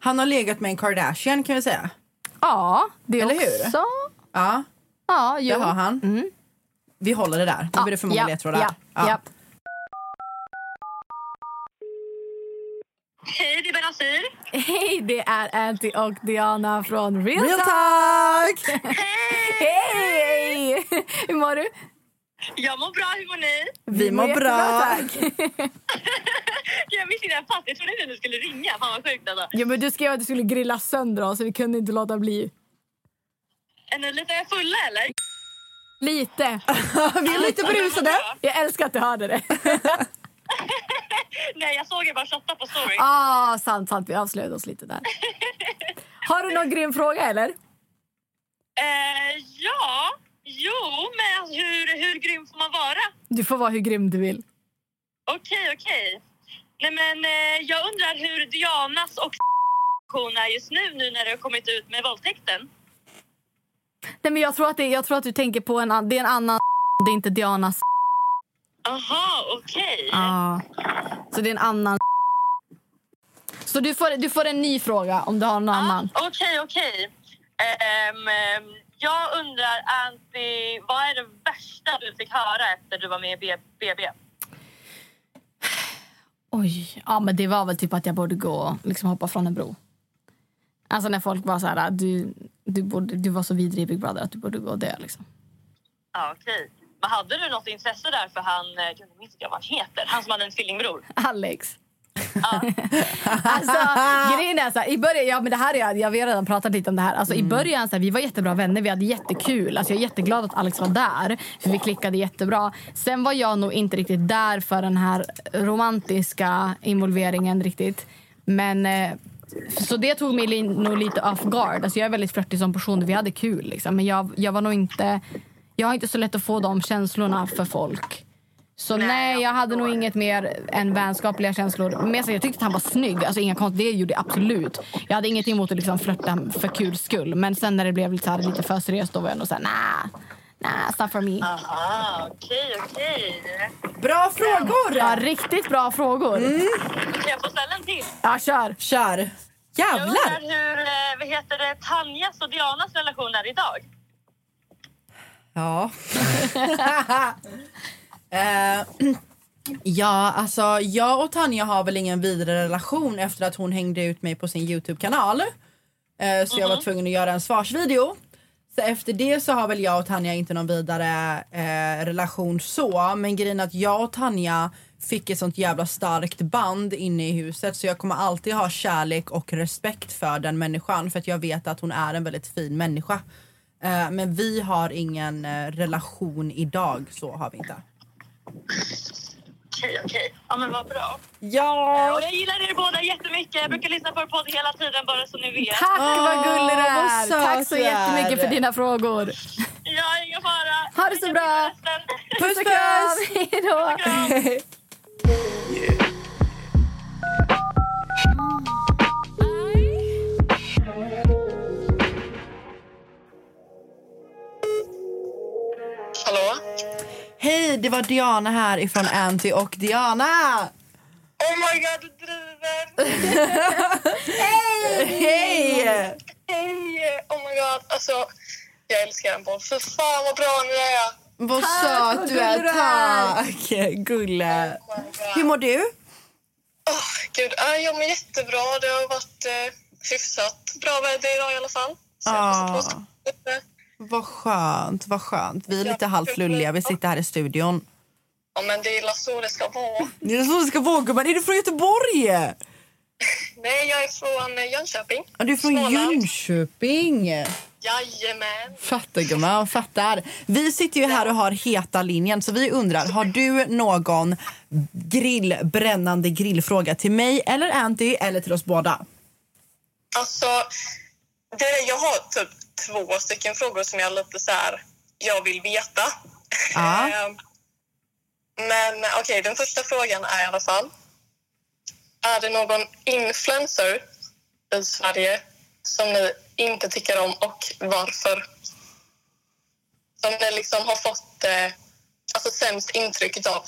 Speaker 20: Han har legat med en Kardashian kan vi säga.
Speaker 7: Ja, det
Speaker 20: Eller hur?
Speaker 7: också.
Speaker 20: Ja,
Speaker 7: Ja,
Speaker 20: det
Speaker 7: jo.
Speaker 20: har han. Vi håller det där. Nu
Speaker 7: Ja,
Speaker 20: blir det för många
Speaker 7: ja,
Speaker 20: ledtrådar.
Speaker 7: ja, ja.
Speaker 21: Hej, det är Benazir.
Speaker 7: Hej, det är Anty och Diana från Real,
Speaker 20: Real
Speaker 7: Talk! Hej! Hur mår du?
Speaker 21: Jag mår bra, hur mår ni?
Speaker 20: Vi mår
Speaker 7: jättebra,
Speaker 20: bra.
Speaker 7: tack.
Speaker 21: Jag visste inte, jag fattade. Jag trodde inte ni skulle ringa. Fan vad sjukt alltså.
Speaker 7: Jo, men du skrev att du skulle grilla sönder oss, så vi kunde inte låta bli.
Speaker 21: Är ni lite fulla eller?
Speaker 7: Lite.
Speaker 20: Vi är lite brusade.
Speaker 7: Jag älskar att du hörde det.
Speaker 21: Nej, jag såg er bara shotta på story.
Speaker 7: ah, sant, sant. Vi avslöjade oss lite där. Har du någon grym fråga, eller?
Speaker 21: Eh, ja, jo, men hur, hur grym får man vara?
Speaker 7: Du får vara hur grym du vill.
Speaker 21: Okej, okej. Nej, men eh, jag undrar hur Dianas och kon är just nu, nu när det har kommit ut med våldtäkten.
Speaker 7: Nej, men jag, tror att det, jag tror att du tänker på en, an- det är en annan Det är inte Dianas
Speaker 21: Aha, okej.
Speaker 7: Ja. Så det är en annan Så du får, du får en ny fråga om du har någon annan.
Speaker 21: Ah, Okej, okej. Ehm, ehm, jag undrar, Antti, vad är det värsta du fick höra efter du var med i B- BB?
Speaker 7: Oj. Ja, men det var väl typ att jag borde gå och liksom hoppa från en bro. Alltså när folk var så här, du, du, borde, du var så vidrig i Big Brother att du borde gå och dö liksom.
Speaker 21: Ja, okej. Men hade du något intresse där för han, eh, gud, jag minns inte vad han heter, han som hade en tvillingbror?
Speaker 7: Alex. alltså, grejen är så här, i början, ja, men det här är, jag, vi har redan pratat lite om det här. Alltså, I början så här, vi var jättebra vänner, vi hade jättekul. Alltså, jag är jätteglad att Alex var där, för vi klickade jättebra. Sen var jag nog inte riktigt där för den här romantiska involveringen riktigt. Men, eh, så det tog mig li- nog lite off guard. Alltså, jag är väldigt flörtig som person, vi hade kul. Liksom. Men jag, jag var nog inte... Jag har inte så lätt att få de känslorna för folk. Så nej, jag hade nog inget mer än vänskapliga känslor. Men jag säger, jag tyckte att han var snygg. Alltså, inga konst, det gjorde jag absolut. Jag hade inget emot att liksom flörta för kul skull. Men sen när det blev lite, så här, lite för seriöst, då var jag nog såhär, nah, nah, it's not for me.
Speaker 21: Aha, okej, okej.
Speaker 20: Bra frågor!
Speaker 7: Ja, riktigt bra frågor.
Speaker 21: Kan jag få ställa en till?
Speaker 7: Ja, kör.
Speaker 20: Kör!
Speaker 21: Jag
Speaker 20: Jävlar!
Speaker 21: undrar hur eh, vad heter det, Tanjas och Dianas relation är idag.
Speaker 6: Ja. Eh, ja, alltså jag och Tanja har väl ingen vidare relation efter att hon hängde ut mig på sin Youtube-kanal. Eh, så jag var tvungen att göra en svarsvideo. Så efter det så har väl jag och Tanja inte någon vidare eh, relation så. Men grejen är att jag och Tanja fick ett sånt jävla starkt band inne i huset så jag kommer alltid ha kärlek och respekt för den människan för att jag vet att hon är en väldigt fin människa. Eh, men vi har ingen eh, relation idag, så har vi inte.
Speaker 21: Okej, okej. Ja, men vad bra.
Speaker 6: Ja!
Speaker 21: Eh, Och jag gillar er båda jättemycket. Jag brukar lyssna på er podd hela tiden bara så ni vet.
Speaker 7: Tack vad gullig du
Speaker 6: vad
Speaker 7: är!
Speaker 6: söt
Speaker 7: Tack så
Speaker 6: du är.
Speaker 7: jättemycket för dina frågor.
Speaker 21: Ja, ingen fara.
Speaker 7: Ha det så bra!
Speaker 6: Puss
Speaker 7: och
Speaker 6: puss!
Speaker 7: kram! Hejdå!
Speaker 9: Hallå?
Speaker 6: Hej, det var Diana här ifrån Anty och Diana!
Speaker 9: Oh my god, du driver!
Speaker 6: Hej!
Speaker 9: Hej! Oh my god, alltså jag älskar den podden. För fan vad bra ni är!
Speaker 6: Vad
Speaker 9: Tack,
Speaker 6: söt
Speaker 9: vad
Speaker 6: du är,
Speaker 9: gullig du är.
Speaker 6: tack! Gulle. Hur mår du?
Speaker 9: Oh Åh, gud, ja, jag mår jättebra. Det har varit eh, hyfsat bra väder idag i alla fall.
Speaker 6: Ah, vad skönt, vad skönt. Vi är lite halvt lulliga, vi sitter här i studion.
Speaker 9: Ja, men det är la så det ska vara.
Speaker 6: Det är så det ska vara gumman, är du från Göteborg?
Speaker 9: Nej, jag är från eh, Jönköping.
Speaker 6: Ja, du är från
Speaker 9: Småland.
Speaker 6: Jönköping.
Speaker 9: Jajamän.
Speaker 6: Fattar gumman, fattar. Vi sitter ju här och har heta linjen så vi undrar, har du någon grill, brännande grillfråga till mig eller Anty eller till oss båda?
Speaker 9: Alltså, det är, jag har typ två stycken frågor som jag lite så här, jag vill veta.
Speaker 6: Ja.
Speaker 9: Ehm, Men okej, den första frågan är i alla fall. Är det någon influencer i Sverige som ni inte tycker om och varför? Som ni liksom har fått eh, alltså, sämst intryck av.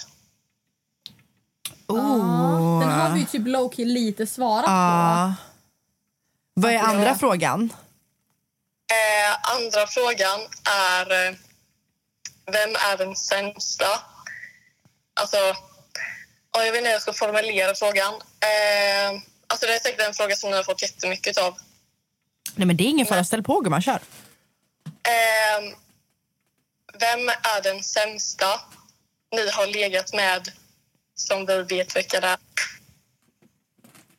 Speaker 6: Oh.
Speaker 7: Den har vi ju typ Loki lite svarat på.
Speaker 6: Ja. Vad är andra frågan?
Speaker 9: Eh, andra frågan är... eh, Vem är den sämsta? Alltså... ja, jag vet inte hur jag ska formulera frågan. Eh, alltså det är säkert en fråga som ni har fått jättemycket av.
Speaker 6: Nej men det är ingen fara, ställ på gumman, kör.
Speaker 9: Eh, vem är den sämsta ni har legat med som vi vet vilka det är?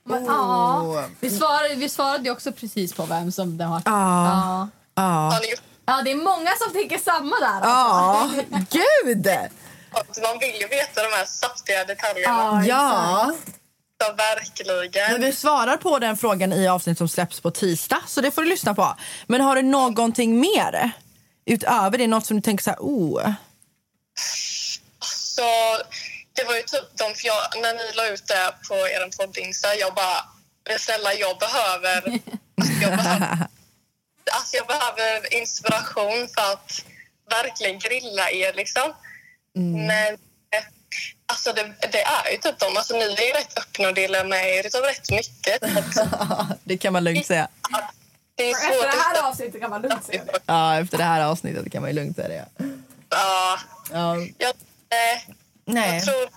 Speaker 7: Men, ja. vi, svarade, vi svarade ju också precis på vem som den har.
Speaker 6: Ja. Ja.
Speaker 7: Ja, det är många som tänker samma där.
Speaker 6: Ja,
Speaker 7: alltså.
Speaker 6: gud!
Speaker 9: Att Man vill ju veta de här saftiga detaljerna.
Speaker 6: Ja, Ja.
Speaker 9: Så verkligen.
Speaker 6: Men vi svarar på den frågan i avsnitt som släpps på tisdag, så det får du lyssna på. Men har du någonting mer utöver det? Något som du tänker så här, oh.
Speaker 9: Så det var ju typ de, för jag, när ni la ut det på er podd Insta, jag bara, men snälla jag behöver, alltså, jag behöver, alltså, jag behöver inspiration för att verkligen grilla er liksom. Men eh, alltså det, det är ju typ de, alltså ni är ju rätt öppna och delar med er utav rätt mycket.
Speaker 6: Det kan man lugnt säga.
Speaker 9: Det
Speaker 7: alltså.
Speaker 9: är
Speaker 12: Efter
Speaker 9: svårt
Speaker 12: det här
Speaker 9: att...
Speaker 12: avsnittet kan man lugnt säga det.
Speaker 6: Ja, efter det här avsnittet kan man ju lugnt säga det. ja.
Speaker 9: typ, Ja,
Speaker 6: Ja.
Speaker 9: jag, eh,
Speaker 6: Nej.
Speaker 9: jag tror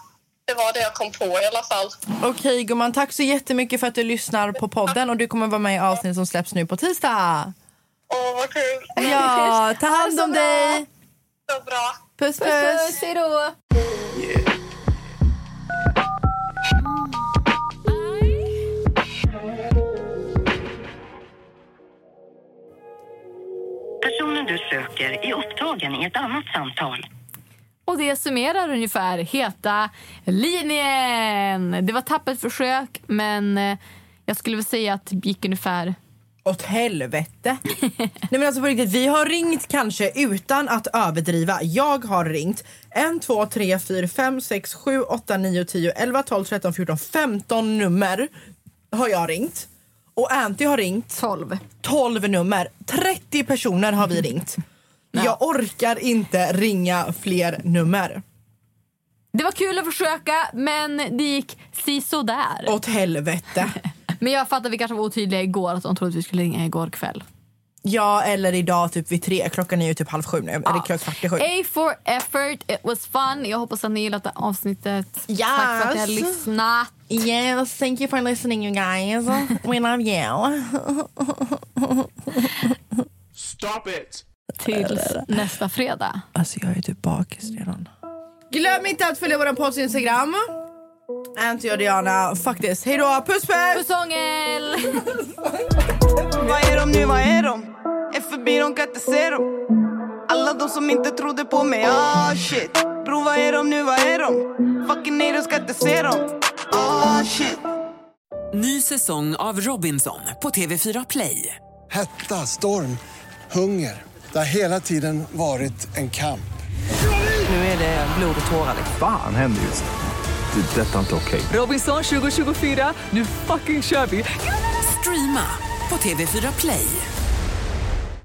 Speaker 9: det var det jag kom på i alla fall.
Speaker 6: Okej gumman, tack så jättemycket för att du lyssnar på podden och du kommer vara med i avsnitt som släpps nu på tisdag.
Speaker 9: Åh, vad kul!
Speaker 6: Ja, ta hand om dig!
Speaker 9: Så bra.
Speaker 6: Puss puss!
Speaker 7: Puss, hej då!
Speaker 22: Personen du söker är upptagen i ett annat samtal.
Speaker 7: Och det summerar ungefär Heta linjen. Det var tappert försök, men eh, jag skulle väl säga att det gick ungefär...
Speaker 6: Åt helvete! Nej men alltså på riktigt, vi har ringt kanske utan att överdriva. Jag har ringt 1, 2, 3, 4, 5, 6, 7, 8, 9, 10, 11, 12, 13, 14, 15 nummer har jag ringt. Och Anty har ringt
Speaker 7: 12.
Speaker 6: 12 nummer. 30 personer har vi ringt. Jag orkar inte ringa fler nummer.
Speaker 7: Det var kul att försöka, men det gick sisådär.
Speaker 6: Åt helvete.
Speaker 7: men jag fattar, vi kanske var otydliga igår, att de trodde att vi skulle ringa igår kväll.
Speaker 6: Ja, eller idag typ vid tre. Klockan är ju typ halv sju nu. Eller klockan kvart i sju.
Speaker 7: A for effort, it was fun. Jag hoppas att ni gillat det här avsnittet.
Speaker 6: Yes.
Speaker 7: Tack för att ni har lyssnat.
Speaker 6: Yes, thank you for listening you guys. We love you.
Speaker 23: Stop it!
Speaker 7: Tills nästa fredag.
Speaker 6: Alltså jag är typ bakis redan. Glöm inte att följa vår podd Instagram. Anty och Diana. Fuck this. Hej då. Puss puss!
Speaker 7: Pussångel!
Speaker 5: Vad är de nu, vad är de? Är förbi, de kan inte se dem. Alla de som inte trodde på mig, ah shit. Bro, vad är de nu, vad är de? Fucking nej, de ska inte se dem. Ah shit.
Speaker 1: Ny säsong av Robinson på TV4 Play.
Speaker 2: Hetta, storm, hunger. Det har hela tiden varit en kamp.
Speaker 1: Nu är det blod och tårar.
Speaker 3: Fan händer just det. Det är detta inte okej.
Speaker 1: Robinson 2024, nu fucking kör vi! Streama på TV4 Play.